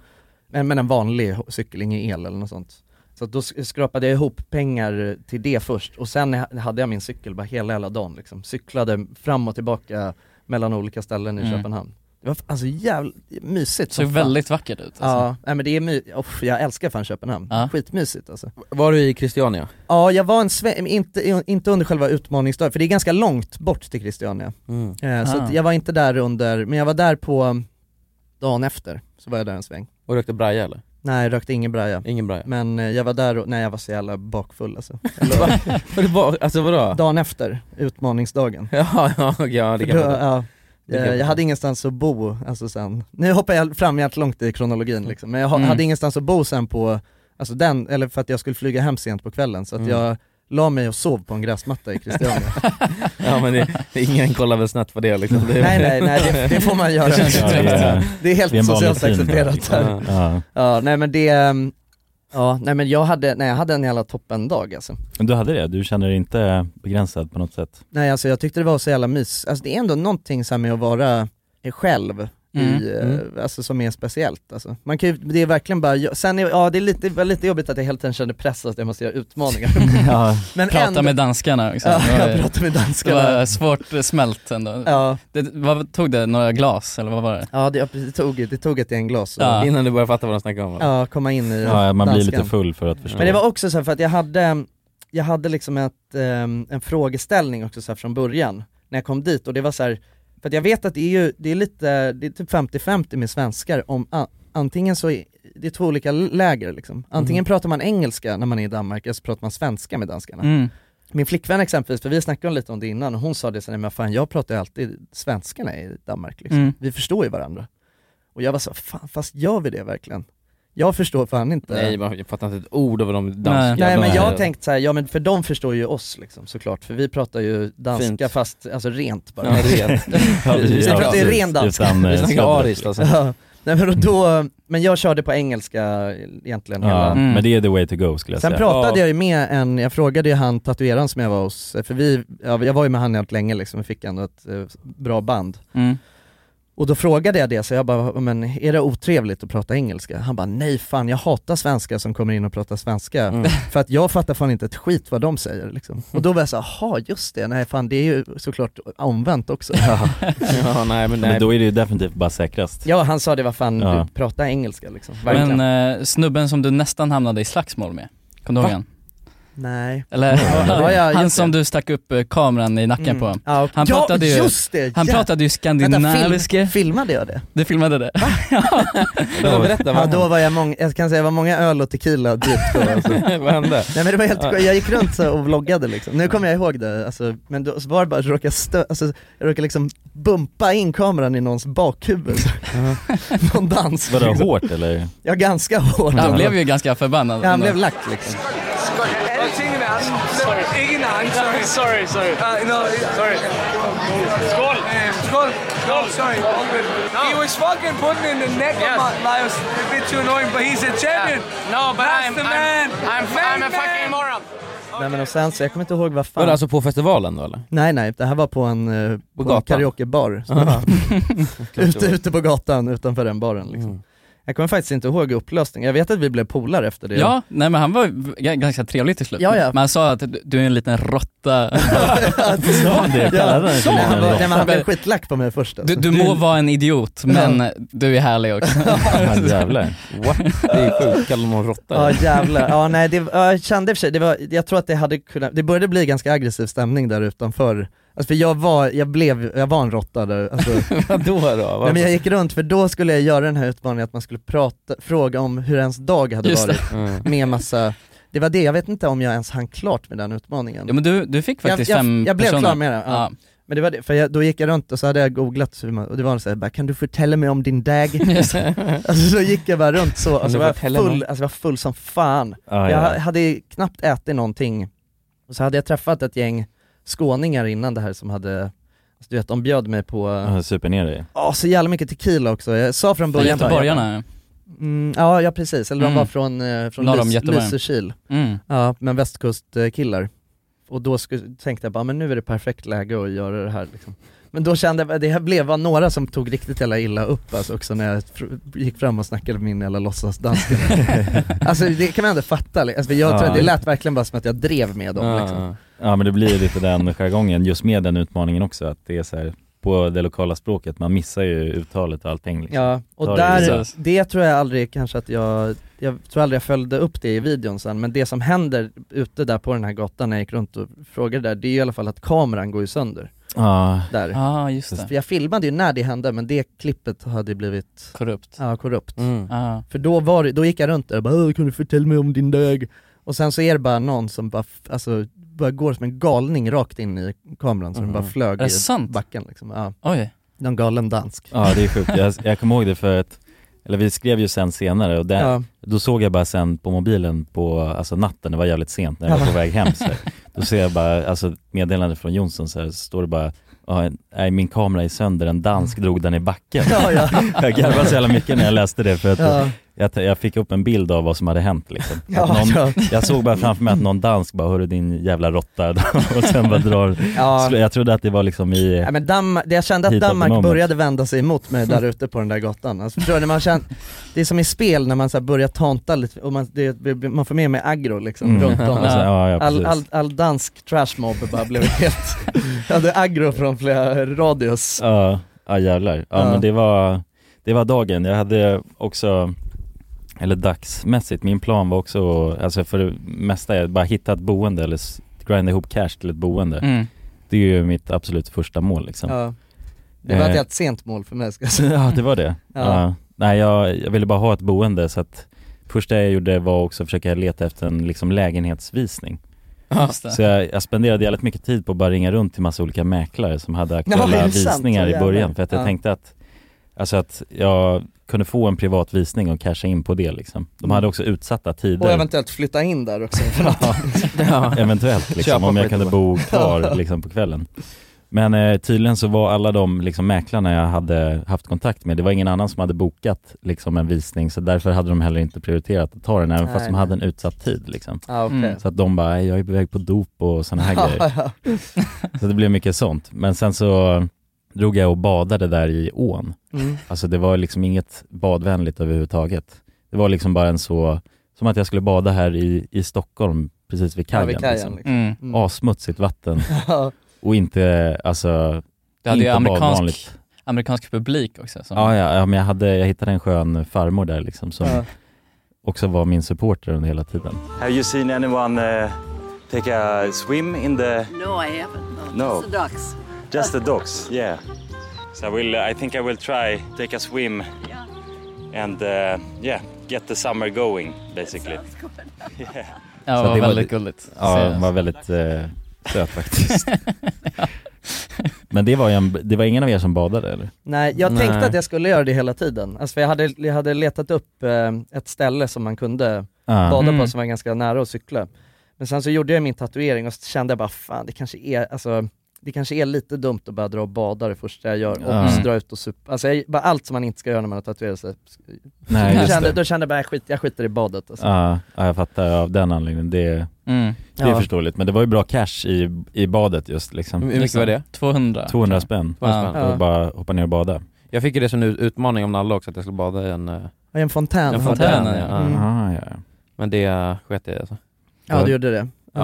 Speaker 1: Men, men en vanlig ho- cykel, ingen el eller något sånt. Så att då sk- skrapade jag ihop pengar till det först och sen h- hade jag min cykel bara hela hela dagen liksom. Cyklade fram och tillbaka mellan olika ställen i
Speaker 2: Mm.
Speaker 1: Köpenhamn. Det var f- alltså jävligt mysigt
Speaker 2: Såg
Speaker 1: som fan.
Speaker 2: väldigt vackert ut, alltså.
Speaker 1: Ja, nej, men det är my- Uff, jag älskar fan Köpenhamn. Skitmysigt alltså.
Speaker 4: Var du i Christiania?
Speaker 1: Ja, jag var en sväng, inte, inte under själva utmaningsdagen, för det är ganska långt bort till Christiania.
Speaker 4: Mm.
Speaker 1: Eh, Så
Speaker 4: Ah.
Speaker 1: att jag var inte där under, men jag var där på mm, dagen efter, så var jag där en sväng.
Speaker 4: Och rökte braja eller?
Speaker 1: Nej, jag rökte ingen braja.
Speaker 4: Ingen braja.
Speaker 1: Men eh, jag var där och, nej jag var så jävla bakfull alltså.
Speaker 4: Var du bak- alltså vadå?
Speaker 1: Dagen efter, utmaningsdagen.
Speaker 4: Ja, ja, okej, ja, det kan
Speaker 1: För då-
Speaker 4: man ta.
Speaker 1: ja,
Speaker 4: Det kan
Speaker 1: Eh,
Speaker 4: man
Speaker 1: jag
Speaker 4: ta.
Speaker 1: hade ingenstans att bo, alltså sen, nu hoppar jag fram jävligt långt i kronologin liksom, men jag ha-
Speaker 4: Mm.
Speaker 1: hade ingenstans att bo sen på, alltså den, eller för att jag skulle flyga hem sent på kvällen, så att
Speaker 4: Mm.
Speaker 1: jag la mig och sov på en gräsmatta i Christiania.
Speaker 4: Ja men det, det, ingen kollar väl snett på det liksom. Det,
Speaker 1: nej nej nej, det, det får man göra.
Speaker 4: Ja, det är-
Speaker 1: det är helt
Speaker 4: det är en vanlig
Speaker 1: socialt
Speaker 4: syn,
Speaker 1: accepterat
Speaker 4: liksom.
Speaker 1: här.
Speaker 3: Ja.
Speaker 1: Ja. nej men det, ehm, ja nej men jag hade, nej jag hade en jävla toppendag alltså.
Speaker 3: Men du hade det? Du känner dig inte begränsad på något sätt?
Speaker 1: Nej alltså jag tyckte det var så jävla mys, alltså det är ändå någonting så här med att vara eh, själv i,
Speaker 3: Mm.
Speaker 1: eh, alltså som är speciellt alltså. Man kan ju, det är verkligen bara, jag- sen är, ja det är lite, det var lite jobbigt att jag hela tiden kände press att jag måste göra utmaningar.
Speaker 2: Ja.
Speaker 1: Men
Speaker 2: prata
Speaker 1: ändå-
Speaker 2: med danskarna också.
Speaker 1: Ja,
Speaker 2: Det var-
Speaker 1: jag pratade med danskarna.
Speaker 2: Det var svårt eh, smält ändå.
Speaker 1: Ja.
Speaker 2: Det, vad, tog det några glas eller vad var det?
Speaker 1: Ja det, det, tog, det tog ett gäng glas.
Speaker 2: Ja.
Speaker 4: Innan du börjar fatta vad de snackar om va?
Speaker 1: Ja, komma in i
Speaker 3: Ja, man blir
Speaker 1: danskan.
Speaker 3: lite full för att förstå
Speaker 1: Men det var också så här, för att jag hade, jag hade liksom ett, ehm, en frågeställning också så här från början, när jag kom dit och det var så här, för att jag vet att det är ju, det är lite, det är typ 50-50 med svenskar om, a- antingen så, är, det är två olika läger liksom. Antingen
Speaker 4: Mhm.
Speaker 1: pratar man engelska när man är i Danmark, eller så pratar man svenska med danskarna.
Speaker 4: Mm.
Speaker 1: Min flickvän exempelvis, för vi snackade lite om det innan, och hon sa det sen, men fan jag pratar ju alltid svenska när jag är i Danmark liksom.
Speaker 4: Mm.
Speaker 1: Vi förstår ju varandra. Och jag var så, fan fast gör vi det verkligen? Jag förstår fan inte
Speaker 4: Nej man, jag fattar inte ett ord av vad de danskar
Speaker 1: Nej. men jag har tänkt så här, ja men för de förstår ju oss liksom såklart, för vi pratar ju danska
Speaker 4: Fint.
Speaker 1: fast, alltså rent bara.
Speaker 4: Ja, rent. Ja,
Speaker 1: vi
Speaker 4: ja,
Speaker 1: pratar ju
Speaker 4: precis.
Speaker 1: ren danska.
Speaker 4: Utan, eh, Vi snackar sladdrigt. ariskt, alltså.
Speaker 1: Ja. Nej men och då, men jag körde på engelska egentligen
Speaker 3: ja,
Speaker 1: hela
Speaker 3: Men det är the way to go skulle jag
Speaker 1: Sen
Speaker 3: säga
Speaker 1: pratade jag ju med en, jag frågade ju han tatueraren som jag var hos, för vi, ja, jag var ju med han helt länge liksom, och fick ändå ett eh, bra band.
Speaker 2: Mm.
Speaker 1: Och då frågade jag det, så jag bara, men är det otrevligt att prata engelska? Han bara, nej fan jag hatar svenskar som kommer in och pratar svenska,
Speaker 2: Mm.
Speaker 1: för att jag fattar fan inte ett skit vad de säger liksom. Och då var jag såhär, jaha just det, nej fan det är ju såklart omvänt också. Ja,
Speaker 4: Ja, nej, men,
Speaker 3: men,
Speaker 4: nej.
Speaker 3: då är det ju definitivt bara säkrast
Speaker 1: han sa det, vad fan,
Speaker 3: Ja.
Speaker 1: du pratar engelska liksom. Verkligen.
Speaker 2: eh, Men eh, snubben som du nästan hamnade i slagsmål med, kommer du ihåg
Speaker 1: Va?
Speaker 2: han?
Speaker 1: Nej.
Speaker 2: Eller
Speaker 1: Ja, ja,
Speaker 2: han
Speaker 1: just
Speaker 2: som du stack upp eh, kameran i nacken
Speaker 1: Mm.
Speaker 2: på.
Speaker 1: Ja, okej.
Speaker 2: Han
Speaker 1: Ja,
Speaker 2: pratade ju,
Speaker 1: just det,
Speaker 2: han
Speaker 1: ja.
Speaker 2: pratade ju
Speaker 1: Vänta,
Speaker 2: skandinaviska.
Speaker 1: film, filmade jag det?
Speaker 2: Du filmade det?
Speaker 1: Då,
Speaker 2: berätta, vad
Speaker 1: ja, då var jag många, jag kan säga jag var många öl och tequila dit då alltså.
Speaker 4: Vad hände?
Speaker 1: Nej men det var helt
Speaker 4: Ja.
Speaker 1: jag gick runt så och vloggade liksom. Nu kommer jag ihåg det, alltså, men då så var det bara att jag råkade, stö, alltså, jag råkade liksom bumpa in kameran i någons bakhuvud. Någon dans.
Speaker 3: Var det
Speaker 1: liksom.
Speaker 3: hårt eller?
Speaker 1: Ja ganska hårt.
Speaker 2: Han blev ju ganska förbannad.
Speaker 1: Ja, han blev lack liksom.
Speaker 15: Alting i verden. Ikke en anden, sorry.
Speaker 5: Sorry, sorry.
Speaker 15: Uh, no, sorry.
Speaker 5: Skål!
Speaker 15: Skål. No, sorry. He was fucking putting in the neck of my lives. A bit too annoying, but he's a champion.
Speaker 5: No, but
Speaker 15: That's
Speaker 5: I'm-
Speaker 15: the
Speaker 5: I'm-
Speaker 15: man.
Speaker 5: I'm-
Speaker 15: man,
Speaker 5: I'm a fucking
Speaker 15: moron.
Speaker 1: Nej men och sen så, jag kommer inte ihåg vad fan.
Speaker 4: Var det alltså på festivalen då eller?
Speaker 1: Nej nej, det här var på en, eh, på en
Speaker 4: gatan?
Speaker 1: karaokebar. Så det
Speaker 4: Aha.
Speaker 1: var-
Speaker 4: Klart det
Speaker 1: ute,
Speaker 4: var.
Speaker 1: ute på gatan utanför den baren liksom. Jag kommer faktiskt inte ihåg upplösningen, jag vet att vi blev polare efter det.
Speaker 2: Ja, nej men han var g- ganska trevlig till slut.
Speaker 1: Ja, ja.
Speaker 2: Men han sa att du- du är en liten råtta.
Speaker 1: Sa han det? Kallade han
Speaker 2: Sa
Speaker 1: det?
Speaker 2: han?
Speaker 1: Nej, men han blev skitlack på mig först
Speaker 2: Du,
Speaker 1: alltså.
Speaker 2: du må vara en idiot, men du är härlig också.
Speaker 1: Ja,
Speaker 3: jävlar.
Speaker 4: What? Det är sjukt, kallar någon råtta
Speaker 1: Ja jävlar, ja nej det, ja, jag kände i och för sig, det var, jag tror att det hade kunnat, det började bli ganska aggressiv stämning där utanför Alltså för jag var, jag blev, jag var en råtta där alltså,
Speaker 4: Vadå då?
Speaker 1: Nej,
Speaker 2: alltså.
Speaker 1: men jag gick runt för då skulle jag göra den här utmaningen att man skulle prata, fråga om hur ens dag hade
Speaker 2: Just det.
Speaker 1: varit med massa det var det, jag vet inte om jag ens hann klart med den utmaningen.
Speaker 2: Ja, men du- du fick faktiskt
Speaker 1: jag, jag,
Speaker 2: fem
Speaker 1: Jag blev
Speaker 2: personer.
Speaker 1: klar med det, ja.
Speaker 2: Ja.
Speaker 1: Men det var det, för jag, då gick jag runt och så hade jag googlat hur man, och det var så här, bara, kan du förtälla mig om din dag?
Speaker 2: Just det.
Speaker 1: alltså så gick jag bara runt så,
Speaker 4: Kan du
Speaker 1: alltså, var jag full,
Speaker 4: förtälla mig?
Speaker 1: alltså jag var full som fan.
Speaker 4: Ah,
Speaker 1: jag
Speaker 4: ja.
Speaker 1: ha- hade knappt ätit någonting, och så hade jag träffat ett gäng skåningar innan det här som hade, alltså, du vet de bjöd mig på
Speaker 3: Ja, super ner dig.
Speaker 1: Ja, så jävla mycket tequila också. Jag sa från början bara-
Speaker 2: Göteborgarna.
Speaker 1: Mm, ja, ja precis. Eller de
Speaker 2: Mm.
Speaker 1: var från, eh, från
Speaker 2: Norr om
Speaker 1: Lys-
Speaker 2: Göteborg.
Speaker 1: Lysekil.
Speaker 2: Mm.
Speaker 1: Ja, men västkustkillar. Och då sku- tänkte jag bara, men nu är det perfekt läge att göra det här liksom. Men då kände jag, det här blev var några som tog riktigt jävla illa upp alltså också när jag fr- gick fram och snackade med min jävla låtsasdansk. alltså det kan man ändå fatta, li- alltså, för jag tror
Speaker 3: Ja.
Speaker 1: att det lät verkligen bara som att jag drev med dem
Speaker 3: Ja,
Speaker 1: liksom.
Speaker 3: ja. Ja men det blir lite den jargongen just med den utmaningen också att det är så här på det lokala språket, man missar ju uttalet och allting liksom.
Speaker 1: Ja, och
Speaker 3: Tar det
Speaker 1: där,
Speaker 3: precis.
Speaker 1: det tror jag aldrig kanske att jag, jag tror aldrig jag följde upp det i videon sen, men det som händer ute där på den här gatan när jag gick runt och frågade där, det är ju i alla fall att kameran går ju sönder.
Speaker 3: Ja.
Speaker 1: Där.
Speaker 2: Ja, just det.
Speaker 1: För jag filmade ju när det hände, men det klippet hade ju blivit
Speaker 2: Korrupt.
Speaker 1: Ja, korrupt.
Speaker 4: Mm.
Speaker 2: Ja.
Speaker 1: För då, var, det- då gick jag runt där och bara "Åh, kan du förtälla mig om din dag? Och sen så är det bara någon som bara, f- alltså, bara går som en galning rakt in i kameran så den bara
Speaker 2: Mm.
Speaker 1: flög
Speaker 2: Är det
Speaker 1: i
Speaker 2: sant?
Speaker 1: backen liksom. Ja.
Speaker 2: Oj.
Speaker 1: Någon galen dansk.
Speaker 3: Ja det är sjukt, jag, jag kommer ihåg det för att, eller vi skrev ju sen senare och där,
Speaker 1: Ja.
Speaker 3: då såg jag bara sen på mobilen på, alltså natten, det var jävligt sent när jag var
Speaker 1: Ja.
Speaker 3: på väg hem så här. Då ser jag bara, alltså meddelande från Jonsson så här, så står det bara "Ja, Nej min kamera är sönder, en dansk drog den i backen.
Speaker 1: Mm. Ja, ja.
Speaker 3: Jag garvade så jävla mycket när jag läste det för att
Speaker 1: Ja.
Speaker 3: jag, jag fick upp en bild av vad som hade hänt liksom. Att
Speaker 1: Ja,
Speaker 3: någon,
Speaker 1: ja.
Speaker 3: Jag såg bara framför mig att någon dansk bara, hörru din jävla råtta och sen bara drar,
Speaker 1: Ja.
Speaker 3: jag trodde att det var liksom i
Speaker 1: Ja, men Damm- det jag kände att
Speaker 3: Heat of the
Speaker 1: Danmark
Speaker 3: moment.
Speaker 1: började vända sig emot mig där ute på den där gatan. Alltså, förstår du, när man känner, det är som i spel när man så här börjar tanta lite, och man, det, det- man får med mig aggro liksom
Speaker 3: Mm.
Speaker 1: runt om.
Speaker 3: Alltså, ja, ja,
Speaker 1: all,
Speaker 3: precis.
Speaker 1: all, all dansk trashmob bara blev helt, jag hade aggro från flera radios.
Speaker 3: Ja, ja jävlar. Ja,
Speaker 1: Ja.
Speaker 3: men det var, det var dagen. Jag hade också, eller dagsmässigt, min plan var också, alltså för det mesta, är bara hitta ett boende eller s- grinda ihop cash till ett boende.
Speaker 1: Mm.
Speaker 3: Det är ju mitt absolut första mål liksom.
Speaker 1: Ja. Det var
Speaker 3: Eh.
Speaker 1: ett helt sent mål för mig ska jag säga.
Speaker 3: Ja det var det.
Speaker 1: Ja.
Speaker 3: Ja. Nej jag, jag ville bara ha ett boende så att första jag gjorde var också att försöka leta efter en liksom lägenhetsvisning.
Speaker 2: Ja. Just det.
Speaker 3: Så jag, jag spenderade jävligt mycket tid på att bara ringa runt till massa olika mäklare som hade aktuella
Speaker 2: Ja, är det sant?
Speaker 3: visningar
Speaker 2: Så
Speaker 3: i
Speaker 2: jävlar.
Speaker 3: början för att jag
Speaker 2: Ja.
Speaker 3: tänkte att Alltså att jag kunde få en privat visning och casha in på det liksom. De
Speaker 2: Mm.
Speaker 3: hade också utsatta
Speaker 1: Och
Speaker 3: tider
Speaker 1: eventuellt flytta in där också. För
Speaker 3: Mm.
Speaker 1: att,
Speaker 3: eventuellt liksom,
Speaker 1: Köpa
Speaker 3: om jag
Speaker 1: skit
Speaker 3: kunde
Speaker 1: och
Speaker 3: bo
Speaker 1: bara-
Speaker 3: kvar liksom, på kvällen. Men eh, tydligen så var alla de liksom, mäklarna jag hade haft kontakt med, det var ingen annan som hade bokat liksom, en visning så därför hade de heller inte prioriterat att ta den även fast
Speaker 1: Nej,
Speaker 3: de
Speaker 1: nej.
Speaker 3: hade en utsatt tid. Liksom.
Speaker 1: Ah, okej.
Speaker 3: Så att de bara, jag är på väg på dop och sådana här grejer. Så det blev mycket sånt. Men sen så drog jag och badade där i ån.
Speaker 1: Mm.
Speaker 3: Alltså det var liksom inget badvänligt överhuvudtaget. Det var liksom bara en så, som att jag skulle bada här i, i Stockholm precis vid
Speaker 1: Ja,
Speaker 3: kajen.
Speaker 1: vid kajen,
Speaker 3: liksom.
Speaker 1: liksom. Mm. Mm.
Speaker 3: Assmutsigt vatten.
Speaker 1: Ja.
Speaker 3: Och inte, alltså,
Speaker 2: Du hade ju
Speaker 3: inte
Speaker 2: amerikansk,
Speaker 3: badvanligt.
Speaker 2: amerikansk publik också. Som,
Speaker 3: Ja, ja, ja, men jag, hade, jag hittade en skön farmor där liksom som
Speaker 2: Ja.
Speaker 3: också var min supporter under hela tiden.
Speaker 7: Have you seen anyone uh, Take a swim in the
Speaker 16: No, I haven't.
Speaker 7: No.
Speaker 16: Just the ducks.
Speaker 7: just the docks. Yeah. So I will. I think I will try take a swim. And uh, yeah, get the summer going basically. yeah.
Speaker 2: Ja,
Speaker 3: Så
Speaker 2: det var
Speaker 3: det
Speaker 2: väldigt gulligt.
Speaker 3: Ja, de var väldigt eh, söt faktiskt. Men det var, ju en, det var ingen av er som badade eller?
Speaker 1: Nej, jag tänkte
Speaker 3: Nej.
Speaker 1: att jag skulle göra det hela tiden. Alltså för jag hade, jag hade letat upp eh, ett ställe som man kunde bada på
Speaker 3: Mm.
Speaker 1: som var ganska nära och cykla. Men sen så gjorde jag min tatuering och så kände jag bara, fan det kanske är, alltså, det kanske är lite dumt att bara dra och bada det första jag gör och
Speaker 3: Ja.
Speaker 1: så dra ut och supa. Alltså jag, bara allt som man inte ska göra när man har tatuerat sig.
Speaker 3: Nej,
Speaker 1: jag
Speaker 3: just
Speaker 1: kände,
Speaker 3: det. Ah.
Speaker 1: då kände jag bara, jag skiter, jag skiter i badet. Alltså.
Speaker 3: Ja, ja, jag fattar av den anledningen. Det,
Speaker 2: Mm.
Speaker 3: det är
Speaker 2: Ja.
Speaker 3: förståeligt. Men det var ju bra cash i, i badet just liksom.
Speaker 2: Hur mycket var det? 200.
Speaker 3: 200 spänn.
Speaker 1: 200 spänn.
Speaker 3: Och bara hoppa ner och bada.
Speaker 8: Jag fick ju det som en ut- utmaning om Nalle också, att jag skulle bada i en... eh,
Speaker 1: Ja, i en fontän.
Speaker 8: En
Speaker 1: Fontän,
Speaker 8: fontän, ja.
Speaker 1: ja. Mm.
Speaker 3: Ah, ja.
Speaker 8: Men det eh, sket jag i, alltså.
Speaker 1: Ja, du gjorde det.
Speaker 8: Ja.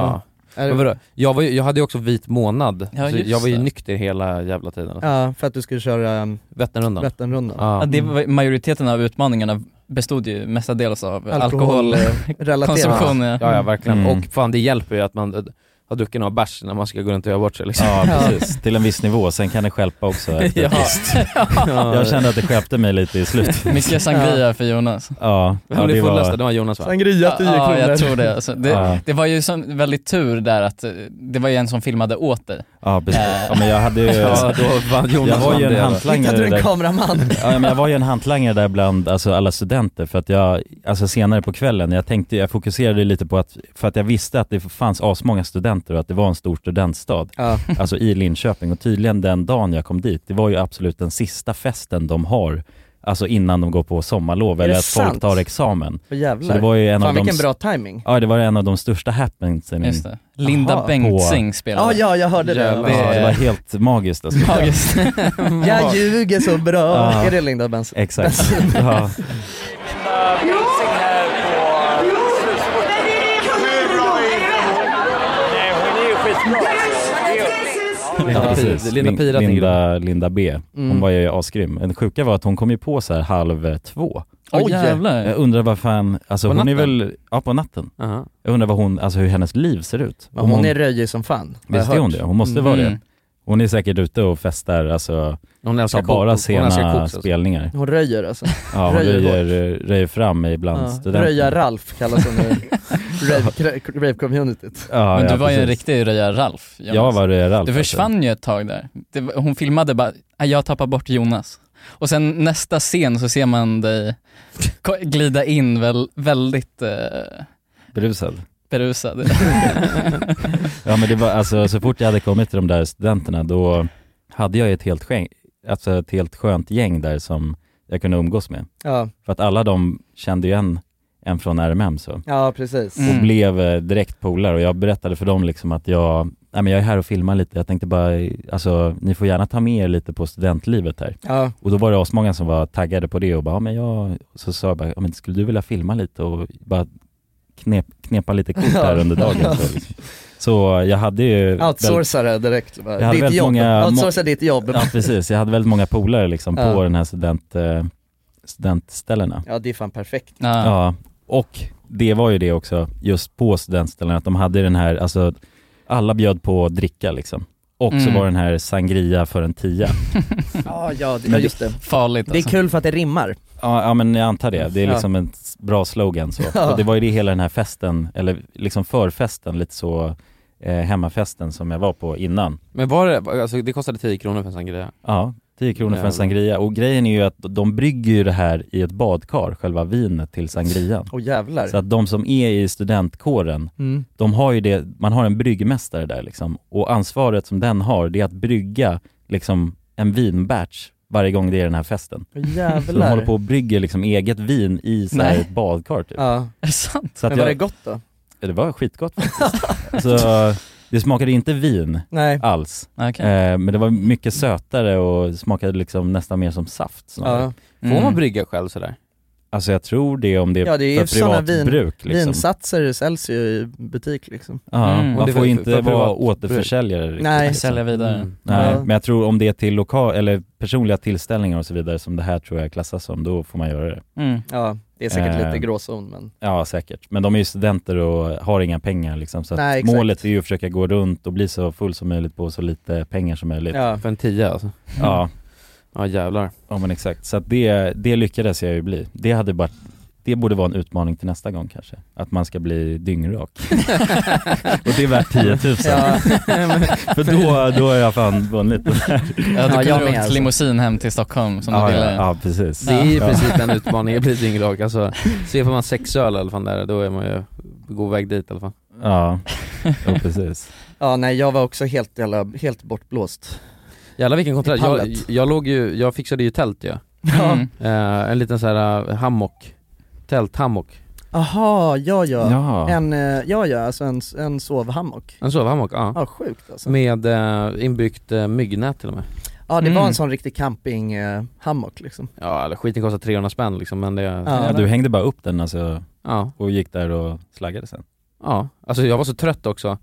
Speaker 1: Ja.
Speaker 8: Men vadå? Jag, var ju, jag hade ju också vit månad,
Speaker 1: Ja,
Speaker 8: så
Speaker 1: just
Speaker 8: jag var ju
Speaker 1: det.
Speaker 8: nykter hela jävla tiden alltså.
Speaker 1: Ja, för att du skulle köra um,
Speaker 8: Vätternrundan.
Speaker 1: Vätternrundan.
Speaker 2: Ja, det var, majoriteten av utmaningarna bestod ju mestadels av
Speaker 1: eh,
Speaker 2: alkohol, konsumtion.
Speaker 8: Ja, ja, verkligen.
Speaker 2: Mm.
Speaker 8: Och fan det hjälper ju att man eh, har druckit några bärs när man ska gå runt och göra bort sig liksom.
Speaker 3: Ja precis, till en viss nivå, sen kan det skälpa också efter
Speaker 8: Ja.
Speaker 3: ett visst.
Speaker 8: Ja.
Speaker 3: Jag kände att det skälpte mig lite i slutet
Speaker 2: Mycket sangria för Jonas.
Speaker 3: Ja,
Speaker 8: Vem blev fullast då? Det var Jonas va?
Speaker 1: Sangria, 10
Speaker 2: ja,
Speaker 1: kronor.
Speaker 2: jag tror det. Alltså, det,
Speaker 3: Ja.
Speaker 2: det var ju sån väldigt tur där att eh, det var ju en som filmade åt dig.
Speaker 3: Ja precis,
Speaker 2: Eh.
Speaker 3: ja, men jag hade ju,
Speaker 2: Ja, då vann Jonas
Speaker 3: jag var
Speaker 2: vann
Speaker 3: ju en
Speaker 2: det.
Speaker 3: hantlangare
Speaker 2: Hittade du en
Speaker 3: där.
Speaker 1: kameraman?
Speaker 3: Ja men jag var ju en hantlangare där bland alltså, alla studenter för att jag, alltså senare på kvällen, jag tänkte, jag fokuserade lite på att, för att jag visste att det fanns asmånga studenter och att det var en stor studentstad,
Speaker 1: Ja.
Speaker 3: alltså i Linköping och tydligen den dagen jag kom dit, det var ju absolut den sista festen de har, alltså innan de går på sommarlov
Speaker 1: Är
Speaker 3: eller
Speaker 1: det
Speaker 3: att folk
Speaker 1: sant?
Speaker 3: tar examen.
Speaker 1: Åh, jävlar.
Speaker 3: Så det var ju en
Speaker 1: Fan,
Speaker 3: av de
Speaker 1: vilken
Speaker 3: s-
Speaker 1: bra timing.
Speaker 3: Ja det var en av de största happensen
Speaker 2: Just det. Linda
Speaker 3: Jaha.
Speaker 2: Bengtzing
Speaker 3: På-
Speaker 1: Ja,
Speaker 2: spelade.
Speaker 1: ja, jag hörde det.
Speaker 3: Ja,
Speaker 1: Jävlar.
Speaker 3: det var helt magiskt alltså.
Speaker 2: Magiskt.
Speaker 1: jag ljuger så bra.
Speaker 3: Ja.
Speaker 1: Är det Linda Benz?
Speaker 3: Exakt.
Speaker 1: Benz-
Speaker 3: Ja.
Speaker 15: Bengtzing här på slutspurten. Hur bra är hon? Nej, hon är ju skitbra
Speaker 3: Ja,
Speaker 8: Linda
Speaker 3: precis.
Speaker 8: Pi- Linda
Speaker 3: Lin-
Speaker 8: Pira tänker
Speaker 3: Linda, Linda B. Hon
Speaker 8: Mm.
Speaker 3: var ju asgrym. Det sjuka var att hon kom ju på så här halv eh, två.
Speaker 2: Åh, Oj. jävlar.
Speaker 3: Jag undrar vad fan, alltså
Speaker 2: På
Speaker 3: hon är
Speaker 2: natten?
Speaker 3: väl, ja på natten. Jag undrar vad hon, alltså hur hennes liv ser ut.
Speaker 1: Men hon är röjig som fan. har
Speaker 3: Visst
Speaker 1: jag
Speaker 3: är hon
Speaker 1: hört.
Speaker 3: det? Hon måste
Speaker 1: Mm.
Speaker 3: vara det. Hon är säkert ute och festar, alltså
Speaker 8: hon älskar
Speaker 3: tar bara
Speaker 8: kok. Hon
Speaker 3: sena
Speaker 8: älskar kok, alltså.
Speaker 3: spelningar.
Speaker 1: Hon röjer alltså.
Speaker 3: Ja, hon
Speaker 1: Röjer hårt.
Speaker 3: röjer, röjer fram ibland
Speaker 1: Ja.
Speaker 3: studenterna.
Speaker 1: Röja-Ralf kallas hon i rave- rave-communityt.
Speaker 3: Ja,
Speaker 2: Men du
Speaker 3: ja,
Speaker 2: var ju en
Speaker 3: precis.
Speaker 2: riktig röja-Ralf.
Speaker 3: Jag var alltså. röja-Ralf,
Speaker 2: Du försvann ju ett tag där. Det, var- hon filmade bara, "Ah, jag tappar bort Jonas. Och sen nästa scen så ser man dig ko- glida in väl, väldigt eh,
Speaker 3: Berusad.
Speaker 2: berusad.
Speaker 3: Ja men det var, alltså så fort jag hade kommit till de där studenterna då hade jag ett helt, skäng, alltså ett helt skönt gäng där som jag kunde umgås med.
Speaker 1: Ja.
Speaker 3: För att alla de kände ju en, en från RMM så.
Speaker 1: Ja, precis.
Speaker 3: Och blev eh, direkt polare och jag berättade för dem liksom att jag, nej men jag är här och filmar lite, jag tänkte bara, eh, alltså ni får gärna ta med er lite på studentlivet här.
Speaker 1: Ja.
Speaker 3: Och då var det asmånga som var taggade på det och bara, ja men jag, så sa jag bara, ja, men skulle du vilja filma lite och bara knep, knepa lite kort här
Speaker 1: Ja.
Speaker 3: under dagen. Så, liksom. så jag hade ju...
Speaker 1: Outsourca det direkt. bara.
Speaker 3: Jag hade
Speaker 1: Ditt
Speaker 3: väldigt
Speaker 1: jobb.
Speaker 3: många-
Speaker 1: Outsourca ditt jobb.
Speaker 3: Ja precis, jag hade väldigt många polare liksom
Speaker 1: Ja.
Speaker 3: på den här student, eh, studentställena.
Speaker 1: Ja, det är fan perfekt.
Speaker 3: Ja, och det var ju det också just på studentställena, att de hade den här, alltså alla bjöd på att dricka liksom. Och så
Speaker 1: Mm.
Speaker 3: var den här sangria för en tia.
Speaker 1: Ja, ja, det,
Speaker 3: Mm. Men alltså.
Speaker 1: ja
Speaker 3: det-
Speaker 1: just det.
Speaker 2: Farligt
Speaker 1: Det
Speaker 2: alltså.
Speaker 1: är kul för att det rimmar.
Speaker 3: Ja, ja men jag antar det, det är liksom en s- bra slogan så.
Speaker 1: Ja.
Speaker 3: Och det var ju det hela den här festen, eller liksom förfesten, lite så eh, hemmafesten som jag var på innan.
Speaker 8: Men var det, alltså det kostade 10 kronor för en sangria?
Speaker 3: Ja, 10 kronor för en sangria. Och grejen är ju att de brygger ju det här i ett badkar, själva vinet till sangrian.
Speaker 1: Åh jävlar.
Speaker 3: Så att de som är i studentkåren,
Speaker 1: Mm.
Speaker 3: de har ju det, man har en bryggmästare där liksom. Och ansvaret som den har, det är att brygga liksom en vinbatch varje gång det är den här festen.
Speaker 1: Åh, jävlar.
Speaker 3: Så de håller på och brygger liksom eget vin i så här
Speaker 1: Nej.
Speaker 3: ett badkar typ.
Speaker 1: Ja.
Speaker 2: Är det sant?
Speaker 3: Så att
Speaker 1: Men var
Speaker 3: jag-
Speaker 1: det gott då?
Speaker 3: Ja, det var skitgott faktiskt. alltså, det smakade inte vin
Speaker 1: Nej.
Speaker 3: alls.
Speaker 2: Okej.
Speaker 3: Eh, men det var mycket sötare och smakade liksom nästan mer som saft snarare.
Speaker 1: Ja.
Speaker 8: Får man
Speaker 2: Mm.
Speaker 8: brygga själv sådär?
Speaker 3: Alltså jag tror det om det är,
Speaker 1: Ja det är ju
Speaker 3: för
Speaker 1: sådana
Speaker 3: privat
Speaker 1: vin,
Speaker 3: bruk liksom.
Speaker 1: vinsatser säljs ju i butik liksom.
Speaker 3: Ja,
Speaker 1: Och
Speaker 3: man
Speaker 1: det
Speaker 3: får
Speaker 1: var-
Speaker 3: ju inte
Speaker 1: för
Speaker 3: vara
Speaker 1: privat
Speaker 3: återförsäljare
Speaker 1: bruk.
Speaker 3: riktigt,
Speaker 1: Nej.
Speaker 3: liksom.
Speaker 2: Sälja vidare.
Speaker 3: Nej,
Speaker 1: Ja.
Speaker 3: men jag tror om det är till lokal, eller personliga tillställningar och så vidare som det här tror jag klassas som, då får man göra det.
Speaker 1: Ja, Det är säkert
Speaker 3: Eh,
Speaker 1: lite gråzon men
Speaker 3: Ja säkert, men de är ju studenter och har inga pengar liksom, så att
Speaker 1: Nej, exakt.
Speaker 3: målet är ju att försöka gå runt och bli så full som möjligt på så lite pengar som möjligt.
Speaker 1: Ja.
Speaker 8: För en tia alltså.
Speaker 3: Ja.
Speaker 8: Ja jävlar.
Speaker 3: Ja men exakt, så att det, det lyckades jag ju bli. Det hade bara det borde vara en utmaning till nästa gång kanske, att man ska bli dyngrak. och det är värt 10 000.
Speaker 2: Ja.
Speaker 3: För då, då har jag fan vunnit.
Speaker 2: Ja, du kunde ha åkt limousin hem till Stockholm som
Speaker 3: Ja,
Speaker 2: du
Speaker 3: ja,
Speaker 2: ville.
Speaker 3: ja, precis.
Speaker 8: Det är i
Speaker 3: Ja.
Speaker 8: princip den utmaningen, det blir dyngrak alltså. Se får man sex öl i alla fall där, då är man ju på god väg dit i alla fall.
Speaker 3: Ja, ja precis.
Speaker 1: Ja nej jag var också helt, jävla, helt bortblåst
Speaker 8: Jävlar vilken kontrast.
Speaker 1: I
Speaker 8: Jag,
Speaker 1: pallet.
Speaker 8: jag låg ju, jag fixade ju tält ju.
Speaker 1: Ja.
Speaker 2: Mm.
Speaker 8: Eh, en liten så här eh, hammock. Tält, hammock.
Speaker 1: Aha, ja ja,
Speaker 8: Ja.
Speaker 1: En, eh, ja ja, alltså en, en sovhammock
Speaker 8: En sovhammock, ja.
Speaker 1: Ja sjukt alltså
Speaker 8: Med eh, inbyggt eh, myggnät till och med.
Speaker 1: Ja det var
Speaker 8: Mm.
Speaker 1: en sån riktig camping eh, hammock liksom
Speaker 8: Ja, eller skiten kostar 300 spänn liksom men det...
Speaker 1: Ja.
Speaker 3: Ja, du hängde bara upp den alltså,
Speaker 8: Ja.
Speaker 3: och gick där och slaggade sen.
Speaker 8: Ja, alltså jag var så trött också,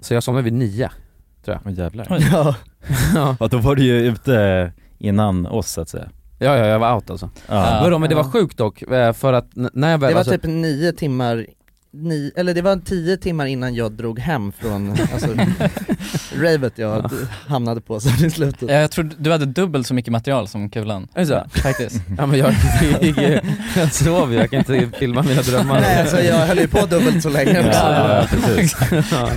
Speaker 8: så jag somnade vid nio, tror jag.
Speaker 3: Åh jävlar.
Speaker 1: Ja.
Speaker 8: ja.
Speaker 3: Ja, då var du ju ute innan oss så att säga.
Speaker 8: Ja, ja, jag var out alltså.
Speaker 3: Ja.
Speaker 8: Vadå, men det var sjukt dock, eh, för att n- när jag väl
Speaker 1: Det var
Speaker 8: alltså,
Speaker 1: typ nio timmar, nio, eller det var tio timmar innan jag drog hem från, alltså, ravet jag d- hamnade på sen i slutet
Speaker 2: Ja, Jag tror du hade dubbelt så mycket material som Kulan.
Speaker 8: Är det så?
Speaker 2: Faktiskt.
Speaker 8: Ja men jag, jag, jag sov ju, jag kan inte filma mina drömmar
Speaker 1: Nej, alltså, jag höll ju på dubbelt så länge också.
Speaker 8: Ja, ja, precis. ja.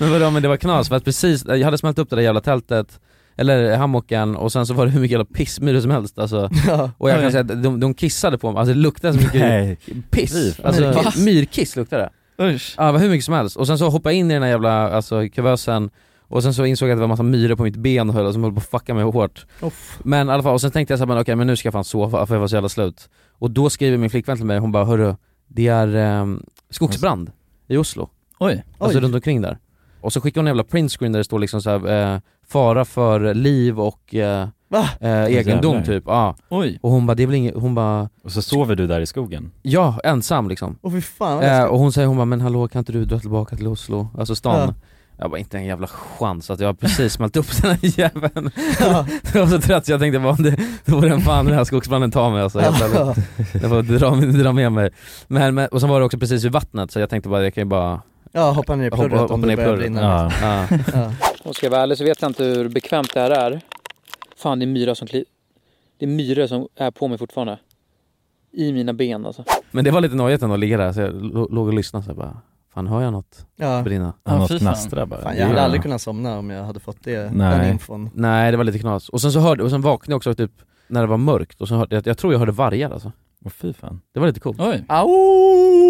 Speaker 8: Men vadå men det var knas för att precis, jag hade smält upp det där jävla tältet eller hammocken och sen så var det hur mycket jävla pissmyror som helst alltså.
Speaker 1: Ja.
Speaker 8: Och jag kan säga att de, de kissade på mig, alltså det luktade så mycket
Speaker 3: Nej. Fy
Speaker 8: piss,
Speaker 3: fan.
Speaker 8: alltså
Speaker 3: Va?
Speaker 8: myrkiss luktade det Usch. Ja, hur mycket som helst, och sen så hoppade jag in i den här jävla alltså, kuvösen och sen så insåg jag att det var massa myror på mitt ben och höll, alltså, som höll på att fucka mig hårt
Speaker 1: Uff.
Speaker 8: Men i alla fall, och sen tänkte jag såhär, okej men nu ska jag fan sova för jag var så jävla slut Och då skriver min flickvän till mig, hon bara hörru, det är ehm, skogsbrand i Oslo
Speaker 2: Oj.
Speaker 8: Alltså
Speaker 2: Oj.
Speaker 8: runt omkring där Och så skickar hon en jävla printscreen där det står liksom såhär, eh, fara för liv och eh,
Speaker 1: Va?
Speaker 8: eh, egendom
Speaker 3: Jävlar.
Speaker 8: typ, ja
Speaker 2: Oj.
Speaker 8: Och hon bara, det är väl inget, hon bara
Speaker 3: Och så sover du där i skogen?
Speaker 8: Ja, ensam liksom
Speaker 1: Åh fy fan vad
Speaker 8: Eh,
Speaker 1: läskigt.
Speaker 8: och hon säger, hon bara, men hallå kan inte du dra tillbaka till Oslo, alltså stan?
Speaker 1: Ja.
Speaker 8: Jag bara, inte en jävla chans att jag har precis smält upp den här jäveln Jag var så trött så jag tänkte bara, om det, då vore den fan den här skogsbranden ta mig alltså, helt
Speaker 1: Ja.
Speaker 8: ärligt Jag får dra, dra med mig men, men, och sen var det också precis vid vattnet så jag tänkte bara, jag kan ju bara
Speaker 1: Ja, hoppa ner i plurret
Speaker 8: hoppa,
Speaker 1: om
Speaker 8: hoppa
Speaker 1: det
Speaker 8: ner i
Speaker 1: börjar
Speaker 8: plurret
Speaker 1: brinna.
Speaker 8: ja.
Speaker 1: liksom.
Speaker 8: Ja.
Speaker 1: Ja.
Speaker 16: Om jag ska vara ärlig så vet jag inte hur bekvämt det här är. Fan, det är myra som kli... Det är myror som är på mig fortfarande. I mina ben alltså.
Speaker 8: Men det var lite nojigt ändå att ligga där, så jag lo- låg och lyssnade så jag bara, fan hör jag något
Speaker 1: Ja.
Speaker 8: brinna?
Speaker 1: Ja, Något fy fan. knastra bara. Fan, jag hade
Speaker 8: Ja.
Speaker 1: aldrig kunnat somna om jag hade fått det, den
Speaker 8: Nej.
Speaker 1: infon
Speaker 8: Nej, det var lite knas. Och sen så hörde, och sen vaknade jag också typ när det var mörkt och sen hörde, jag, jag tror jag hörde vargar alltså.
Speaker 3: Åh fy fan.
Speaker 8: Det var lite coolt.
Speaker 2: Oj.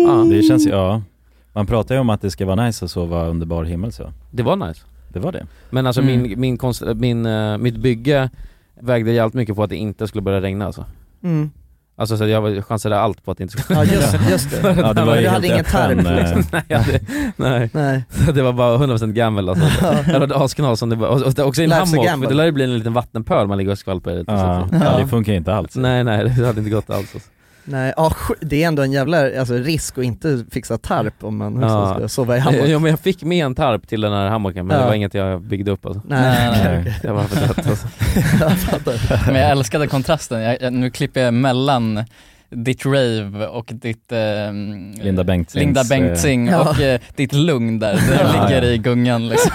Speaker 3: Ja. Det känns ju, ja. Man pratar ju om att det ska vara nice att sova under bar himmel så.
Speaker 8: Det var nice.
Speaker 3: Det var det.
Speaker 8: Men alltså
Speaker 3: Mm.
Speaker 8: min, min konst, min, eh, mitt bygge vägde jävligt mycket på att det inte skulle börja regna alltså.
Speaker 1: Mm.
Speaker 8: Alltså så jag var- chansade allt på att det inte skulle
Speaker 1: Ja, just- just det. Ja, det var ju Du hade helt ingen tarm, öppen, liksom. eh.
Speaker 8: nej, jag hade, nej.
Speaker 1: Nej.
Speaker 8: Så det var bara 100% gammal alltså. Det hade varit asknas om det bara, och, och, och också i en
Speaker 1: Life's a
Speaker 8: hammock, för
Speaker 1: gamble.
Speaker 8: det lär ju bli en liten vattenpöl man ligger och skvalpar i lite
Speaker 3: Ja.
Speaker 8: så att-
Speaker 3: Ja, det funkar ju inte alls.
Speaker 8: Nej nej, det hade inte gått alls alltså.
Speaker 1: Nej, ja, sj- det är ändå en jävla alltså, risk att inte fixa tarp om man liksom
Speaker 8: Ja.
Speaker 1: ska sova i hammock
Speaker 8: Ja Eh, men jag fick med en tarp till den här hammocken men
Speaker 1: Ja.
Speaker 8: det var inget jag byggde upp alltså.
Speaker 1: Nej, Nej, okej,
Speaker 3: Eh,
Speaker 1: nej. okej.
Speaker 8: Det var för dött alltså.
Speaker 2: Men jag älskade kontrasten. Jag, jag, nu klipper jag mellan ditt rave och ditt ehm,
Speaker 3: Linda Bengtzings,
Speaker 2: Linda Bengtzing
Speaker 3: eh,
Speaker 2: och
Speaker 3: ja.
Speaker 2: eh, ditt lugn där, det
Speaker 3: Ja,
Speaker 2: ligger
Speaker 3: ja.
Speaker 2: i gungan liksom.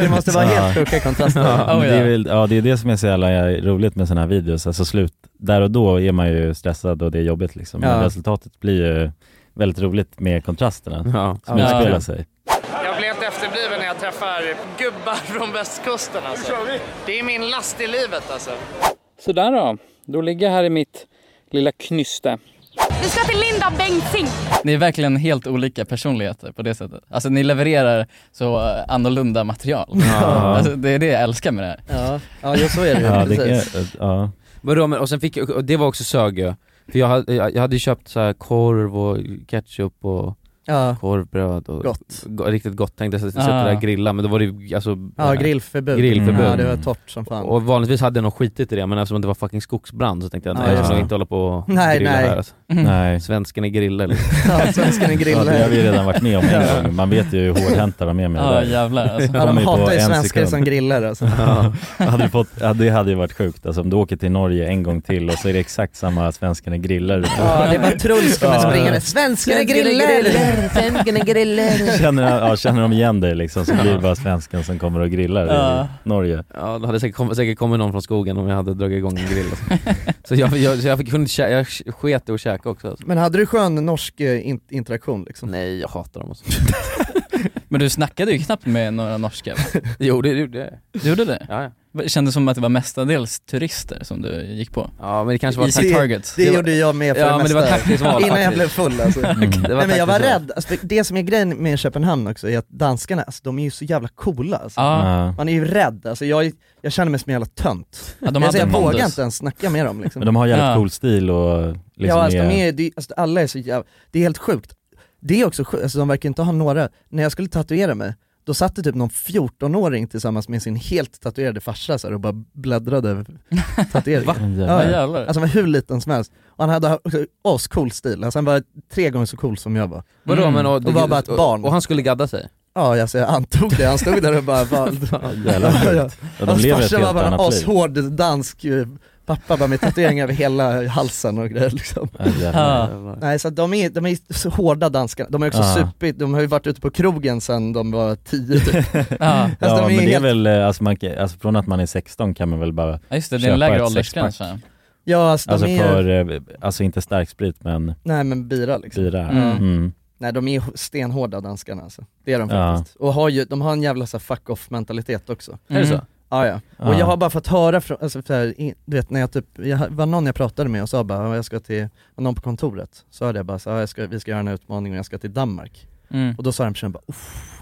Speaker 1: det måste vara helt sjuka kontraster
Speaker 3: Ja,
Speaker 2: Oh,
Speaker 3: men
Speaker 2: ja.
Speaker 3: det är väl, ja det är det som är så jävla eh, roligt med sådana här videos, alltså slut, där och då är man ju stressad och det är jobbigt liksom, men
Speaker 5: Ja.
Speaker 3: resultatet blir ju väldigt roligt med kontrasterna
Speaker 8: ja.
Speaker 3: som
Speaker 5: Ja,
Speaker 3: utspelar
Speaker 5: verkligen.
Speaker 3: sig.
Speaker 5: Jag blir helt efterbliven när jag träffar gubbar från västkusten alltså. Det är min last i livet alltså.
Speaker 16: Sådär då. Då ligger jag här i mitt lilla knyste.
Speaker 17: Vi ska till Linda Bengtzing.
Speaker 2: Ni är verkligen helt olika personligheter på det sättet. Alltså ni levererar så eh, annorlunda material.
Speaker 8: Ja.
Speaker 2: Alltså, det är det jag älskar med det här.
Speaker 1: Ja, ja jo, så är det ju,
Speaker 8: Ja, det
Speaker 1: precis
Speaker 8: kan-
Speaker 3: Ja.
Speaker 8: Vadå men och sen fick jag, och det var också sög ju. För jag hade, jag hade ju köpt så här korv och ketchup och
Speaker 1: Ja.
Speaker 8: korvbröd och
Speaker 1: Gott.
Speaker 8: go- riktigt gott tänkte jag sätta
Speaker 1: Ja.
Speaker 8: där och grilla men då var det ju alltså
Speaker 1: Ja, grillförbud.
Speaker 8: grillförbud.
Speaker 1: Ja, det var torrt som fan.
Speaker 8: Och vanligtvis hade jag nog skitit i det men eftersom det var fucking skogsbrand så tänkte jag
Speaker 1: Ja,
Speaker 8: nej jag
Speaker 1: just
Speaker 8: ska
Speaker 1: det.
Speaker 8: nog inte hålla på och
Speaker 1: Nej,
Speaker 8: grilla
Speaker 1: nej.
Speaker 8: här alltså.
Speaker 1: Mm.
Speaker 3: Nej.
Speaker 8: Svensken är griller liksom.
Speaker 1: Ja, svensken är griller.
Speaker 3: Ja, det har vi redan varit med om en gång. Man vet ju hur hårdhänta de är med
Speaker 1: Ja,
Speaker 3: det där.
Speaker 1: jävlar, alltså. Ja, de
Speaker 3: Kommer på
Speaker 1: hatar ju
Speaker 3: en
Speaker 1: svenskar
Speaker 3: sekund.
Speaker 1: som grillar, alltså.
Speaker 3: Ja, hade du fått, ja, det hade ju varit sjukt alltså, om du åker till Norge en gång till och så är det exakt samma svenskarna grillar.
Speaker 1: Ja, det är bara Truls kommer springande. Svensken är griller! Svensken är griller!
Speaker 3: Känner, ja, känner de igen dig liksom så blir det bara svensken som kommer och grillar i
Speaker 8: Ja.
Speaker 3: Norge.
Speaker 8: Ja, det hade säkert, kom, säkert kommit någon från skogen om jag hade dragit igång en grill alltså. Så jag, jag, så jag, fick, kunde, kä- jag sket i att käka också alltså.
Speaker 1: Men hade du skön norsk eh, in- interaktion liksom?
Speaker 8: Nej, jag hatar dem. Alltså.
Speaker 2: Men du snackade ju knappt med några norska va?
Speaker 8: Jo det gjorde jag.
Speaker 2: Du gjorde det?
Speaker 8: Ja,
Speaker 2: Det kändes som att det var mestadels turister som du gick på.
Speaker 8: Ja men det kanske var
Speaker 2: Easy targets.
Speaker 1: Det, gjorde jag med för
Speaker 2: ja,
Speaker 1: det
Speaker 2: men det var taktiskt val
Speaker 1: Innan jag
Speaker 2: faktiskt.
Speaker 1: blev full alltså.
Speaker 2: Mm. Det var
Speaker 1: Nej, men jag var
Speaker 2: taktiskt val.
Speaker 1: rädd, alltså, det- det som är grejen med Köpenhamn också är att danskarna, alltså, de är ju så jävla coola alltså.
Speaker 2: Ja. Ja.
Speaker 1: Man är ju rädd, alltså, jag, jag känner mig som en jävla tönt.
Speaker 2: Ja, de
Speaker 1: jag
Speaker 2: hade
Speaker 1: jag
Speaker 2: en
Speaker 1: vågar
Speaker 2: pondus.
Speaker 1: inte ens snacka med dem liksom.
Speaker 3: Men de har jävligt cool stil och liksom
Speaker 1: ja, alltså, de
Speaker 3: är-
Speaker 1: är, det- alltså, alla är så jävla, det är helt sjukt. Det är också sjukt, alltså, de verkar inte ha några, när jag skulle tatuera mig, då satt det typ någon 14-åring tillsammans med sin helt tatuerade farsa så här, och bara bläddrade över tatueringen.
Speaker 2: Va?
Speaker 1: Ja, ja.
Speaker 2: Jävlar.
Speaker 1: Alltså han var hur liten som helst. Och han hade också ascool stil, alltså han var tre gånger så cool som jag var.
Speaker 8: Vadå, men, Mm. och,
Speaker 1: och, var bara ett barn.
Speaker 8: Och, och han skulle gadda sig?
Speaker 1: Ja alltså, jag antog det, han stod där och bara valde.
Speaker 8: jävla sjukt.
Speaker 3: Ja, de
Speaker 1: Hans
Speaker 3: lever ett
Speaker 1: farsa var
Speaker 3: helt
Speaker 1: bara en
Speaker 3: annat liv.
Speaker 1: ashård dansk eh, pappa bara med tatueringar över hela halsen och grejer liksom.
Speaker 3: Ja, jävlar. Ja.
Speaker 1: Nej så att de är, de är så hårda danskarna, de har också
Speaker 3: Ja.
Speaker 1: supit, de har ju varit ute på krogen sedan de var tio typ. alltså,
Speaker 3: ja,
Speaker 1: de
Speaker 3: men
Speaker 1: är
Speaker 3: det är
Speaker 1: helt,
Speaker 3: väl, eh, alltså, man, kan- alltså från att man är 16 kan man väl bara
Speaker 2: Ja, just det, det är en
Speaker 3: köpa
Speaker 2: lägre
Speaker 3: ett
Speaker 2: åldersgräns,
Speaker 3: sexpack.
Speaker 2: va?
Speaker 1: Ja, alltså, de
Speaker 3: alltså
Speaker 1: är-
Speaker 3: för, eh, alltså inte starksprit men
Speaker 1: nej men bira liksom.
Speaker 3: bira.
Speaker 1: Mm.
Speaker 3: Mm.
Speaker 1: Nej de är stenhårda danskarna alltså, det är de
Speaker 3: Ja.
Speaker 1: faktiskt. Och har ju, de har en jävla så här, fuck off mentalitet också. Mm.
Speaker 8: Är det så?
Speaker 1: Ja, ja. Och
Speaker 3: Ah.
Speaker 8: Ja.
Speaker 1: jag har bara fått höra från, alltså, så här, i- du vet när jag typ, jag var någon jag pratade med och sa bara, "Ja, jag ska till, någon på kontoret, så hörde jag bara så, "Ja, jag ska, vi ska göra en utmaning och jag ska till Danmark.
Speaker 2: Mm.
Speaker 1: Och då sa den personen bara, Uff.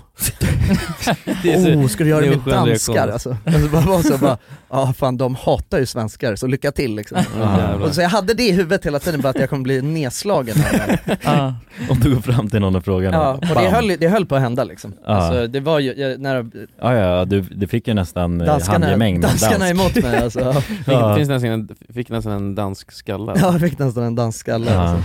Speaker 8: Det är så-
Speaker 1: oh, ska du göra
Speaker 8: det
Speaker 1: det
Speaker 8: är
Speaker 1: med
Speaker 8: en skön
Speaker 1: danskar
Speaker 8: reaktion.
Speaker 1: alltså? alltså bara, var så bara, ja fan de hatar ju svenskar, så lycka till liksom.
Speaker 3: Ja, jävlar.
Speaker 1: och så jag hade det i huvudet hela tiden, bara att jag kommer bli nedslagen här.
Speaker 2: Ah.
Speaker 3: Om du går fram till någon och frågar
Speaker 1: Ja,
Speaker 3: något.
Speaker 1: och det
Speaker 3: Bam.
Speaker 1: höll, det höll på att hända liksom.
Speaker 3: Ja.
Speaker 1: Alltså, det var ju, jag, när,
Speaker 3: Ja, ja, du, du fick ju nästan eh,
Speaker 1: Danskarna-
Speaker 3: handgemäng med en
Speaker 1: danskarna
Speaker 3: dansk.
Speaker 1: emot mig, alltså. Ja.
Speaker 8: Fick, finns nästan en, fick nästan en dansk skalle
Speaker 1: ja, jag fick nästan en dansskalle
Speaker 8: Ja.
Speaker 1: alltså.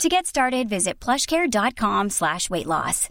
Speaker 18: To get started, visit plushcare.com slash weight loss.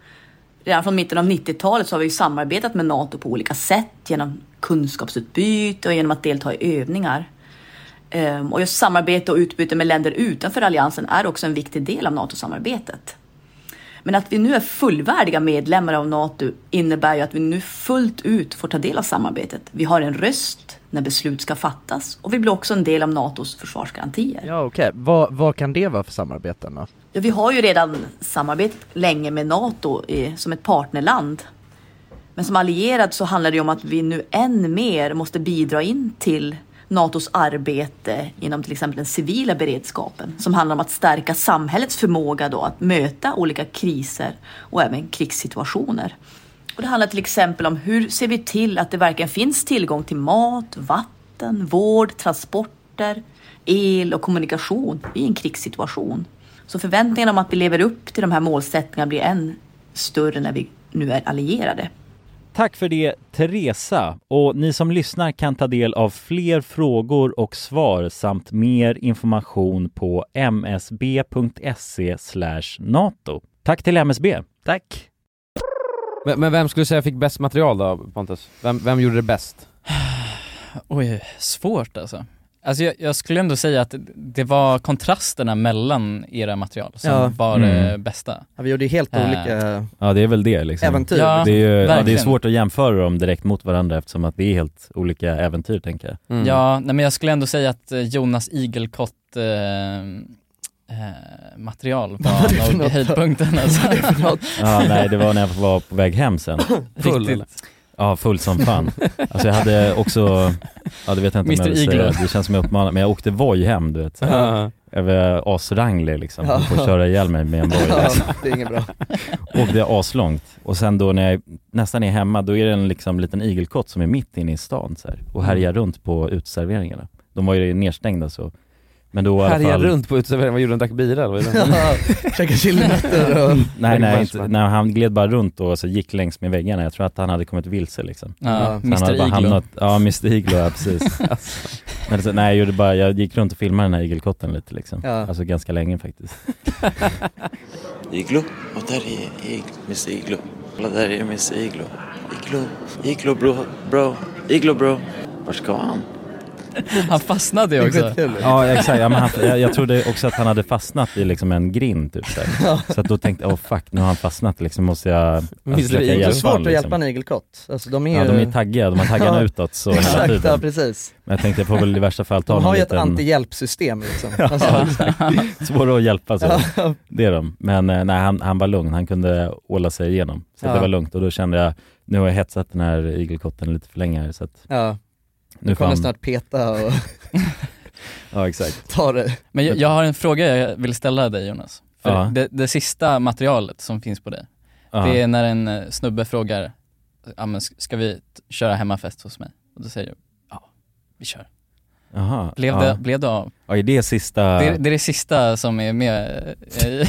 Speaker 19: Redan från mitten av 90-talet så har vi ju samarbetat med NATO på olika sätt genom kunskapsutbyte och genom att delta i övningar. Ehm, Och just samarbete och utbyte med länder utanför alliansen är också en viktig del av NATO-samarbetet. Men att vi nu är fullvärdiga medlemmar av NATO innebär ju att vi nu fullt ut får ta del av samarbetet. Vi har en röst när beslut ska fattas och vi blir också en del av NATOs försvarsgarantier.
Speaker 1: Ja okej, vad, vad kan det vara för samarbeten då?
Speaker 19: Ja, vi har ju redan samarbetat länge med NATO eh, som ett partnerland. Men som allierad så handlar det ju om att vi nu än mer måste bidra in till NATOs arbete inom till exempel den civila beredskapen som handlar om att stärka samhällets förmåga då att möta olika kriser och även krigssituationer. Och det handlar till exempel om hur ser vi till att det verkligen finns tillgång till mat, vatten, vård, transporter, el och kommunikation i en krigssituation. Så förväntningarna om att vi lever upp till de här målsättningarna blir än större när vi nu är allierade.
Speaker 3: Tack för det Teresa och ni som lyssnar kan ta del av fler frågor och svar samt mer information på msb.se E nato. Tack till MSB. Tack.
Speaker 8: Men, men vem skulle du säga fick bäst material då Pontus? Vem, vem gjorde det bäst?
Speaker 2: Oj, svårt alltså. Alltså jag, jag skulle ändå säga att det var kontrasterna mellan era material som
Speaker 1: Ja.
Speaker 2: var det
Speaker 3: Mm.
Speaker 2: bästa.
Speaker 1: Ja, vi gjorde ju helt
Speaker 2: Eh,
Speaker 1: olika...
Speaker 3: Ja det är väl det liksom.
Speaker 1: Äventyr.
Speaker 2: Ja,
Speaker 3: det, är ju, ja, det är
Speaker 2: verkligen.
Speaker 3: svårt att jämföra dem direkt mot varandra eftersom att det är helt olika äventyr tänker jag.
Speaker 8: Mm.
Speaker 2: Ja, nej, men jag skulle ändå säga att eh, Jonas Igelkott eh, eh, material
Speaker 1: Vad var det för
Speaker 2: var nog
Speaker 1: något?
Speaker 2: höjdpunkten alltså.
Speaker 1: Vad var det för något?
Speaker 3: Ja, nej, det var när jag var på väg hem sen.
Speaker 2: Full, Riktigt. eller?
Speaker 3: Ja, full som fan. Alltså jag hade också, ja det vet jag
Speaker 2: Mr.
Speaker 3: inte om jag vill säga,
Speaker 2: Igloo.
Speaker 3: det känns som jag uppmanar, men jag åkte Voi hem du vet. så här.
Speaker 2: Ja.
Speaker 3: Jag var asranglig liksom,
Speaker 1: Ja.
Speaker 3: ja. på att köra ihjäl mig med en Voi.
Speaker 1: Ja,
Speaker 3: liksom.
Speaker 1: det är inget bra.
Speaker 3: Åkte jag aslångt och sen då när jag nästan är hemma, då är det en liksom liten igelkott som är mitt inne i stan så här, och
Speaker 1: Mm.
Speaker 3: härjar runt på uteserveringarna. De var ju nedstängda så. Men då i alla
Speaker 8: Härja
Speaker 3: fall...
Speaker 8: runt på uteserveringen, vad gjorde han? Drack bira eller? vad gjorde han?
Speaker 1: Käka chilinötter och...
Speaker 3: Nej nej, inte, nej, han gled bara runt och så gick längs med väggarna, jag tror att han hade kommit vilse liksom
Speaker 2: Ja,
Speaker 3: Så
Speaker 2: Mr.
Speaker 3: han hade bara
Speaker 2: Iglo.
Speaker 3: hamnat, Ja, Mr Iglo, ja precis Men så, Nej jag gjorde bara, jag gick runt och filmade den här igelkotten lite liksom
Speaker 1: Ja.
Speaker 3: Alltså ganska länge faktiskt
Speaker 20: Iglo. Och där är Iglo. Miss Iglo. Kolla, där är Miss Iglo. Iglo. Iglo bro. bro. Iglo bro. Vart ska han?
Speaker 2: Han fastnade ju också.
Speaker 3: Ja exakt, ja, men han, jag, jag trodde också att han hade fastnat i liksom en grind typ där. Så att då tänkte jag, åh fuck nu har han fastnat liksom, måste jag alltså,
Speaker 1: Visst är
Speaker 3: försöka
Speaker 1: det igel- svårt
Speaker 3: honom,
Speaker 1: att
Speaker 3: liksom.
Speaker 1: hjälpa en igelkott. Alltså de är
Speaker 3: Ja, de
Speaker 1: ju-
Speaker 3: är taggiga, de har taggarna
Speaker 1: Ja,
Speaker 3: utåt så hela
Speaker 1: Exakt,
Speaker 3: tiden.
Speaker 1: ja precis.
Speaker 3: Men jag tänkte jag får väl i värsta fall ta
Speaker 1: De
Speaker 3: någon
Speaker 1: har ju ett
Speaker 3: liten...
Speaker 1: antihjälpsystem liksom.
Speaker 3: Ja,
Speaker 1: Alltså,
Speaker 3: exakt. Svåra att hjälpa så.
Speaker 1: Ja.
Speaker 3: Det är de. Men eh, nej, han, han var lugn, han kunde åla sig igenom. Så att
Speaker 1: Ja.
Speaker 3: det var lugnt och då kände jag, nu har jag hetsat den här igelkotten lite för länge här så att
Speaker 1: ja.
Speaker 3: nu
Speaker 1: Nu
Speaker 3: får
Speaker 1: kommer
Speaker 3: han...
Speaker 1: snart peta och
Speaker 3: Ja exakt.
Speaker 1: ta det.
Speaker 2: Men jag, jag har en fråga jag vill ställa dig Jonas. För
Speaker 3: Ja.
Speaker 2: det, det sista materialet som finns på dig,
Speaker 3: Ja.
Speaker 2: det är när en eh, snubbe frågar, ja men s- ska vi t- köra hemmafest hos mig? Och då säger du, ja, vi kör.
Speaker 3: Jaha,
Speaker 2: Blev,
Speaker 3: ja.
Speaker 2: det, blev det av?
Speaker 3: Ja, är det sista...
Speaker 2: Det, är- det är det sista som är med eh, i, i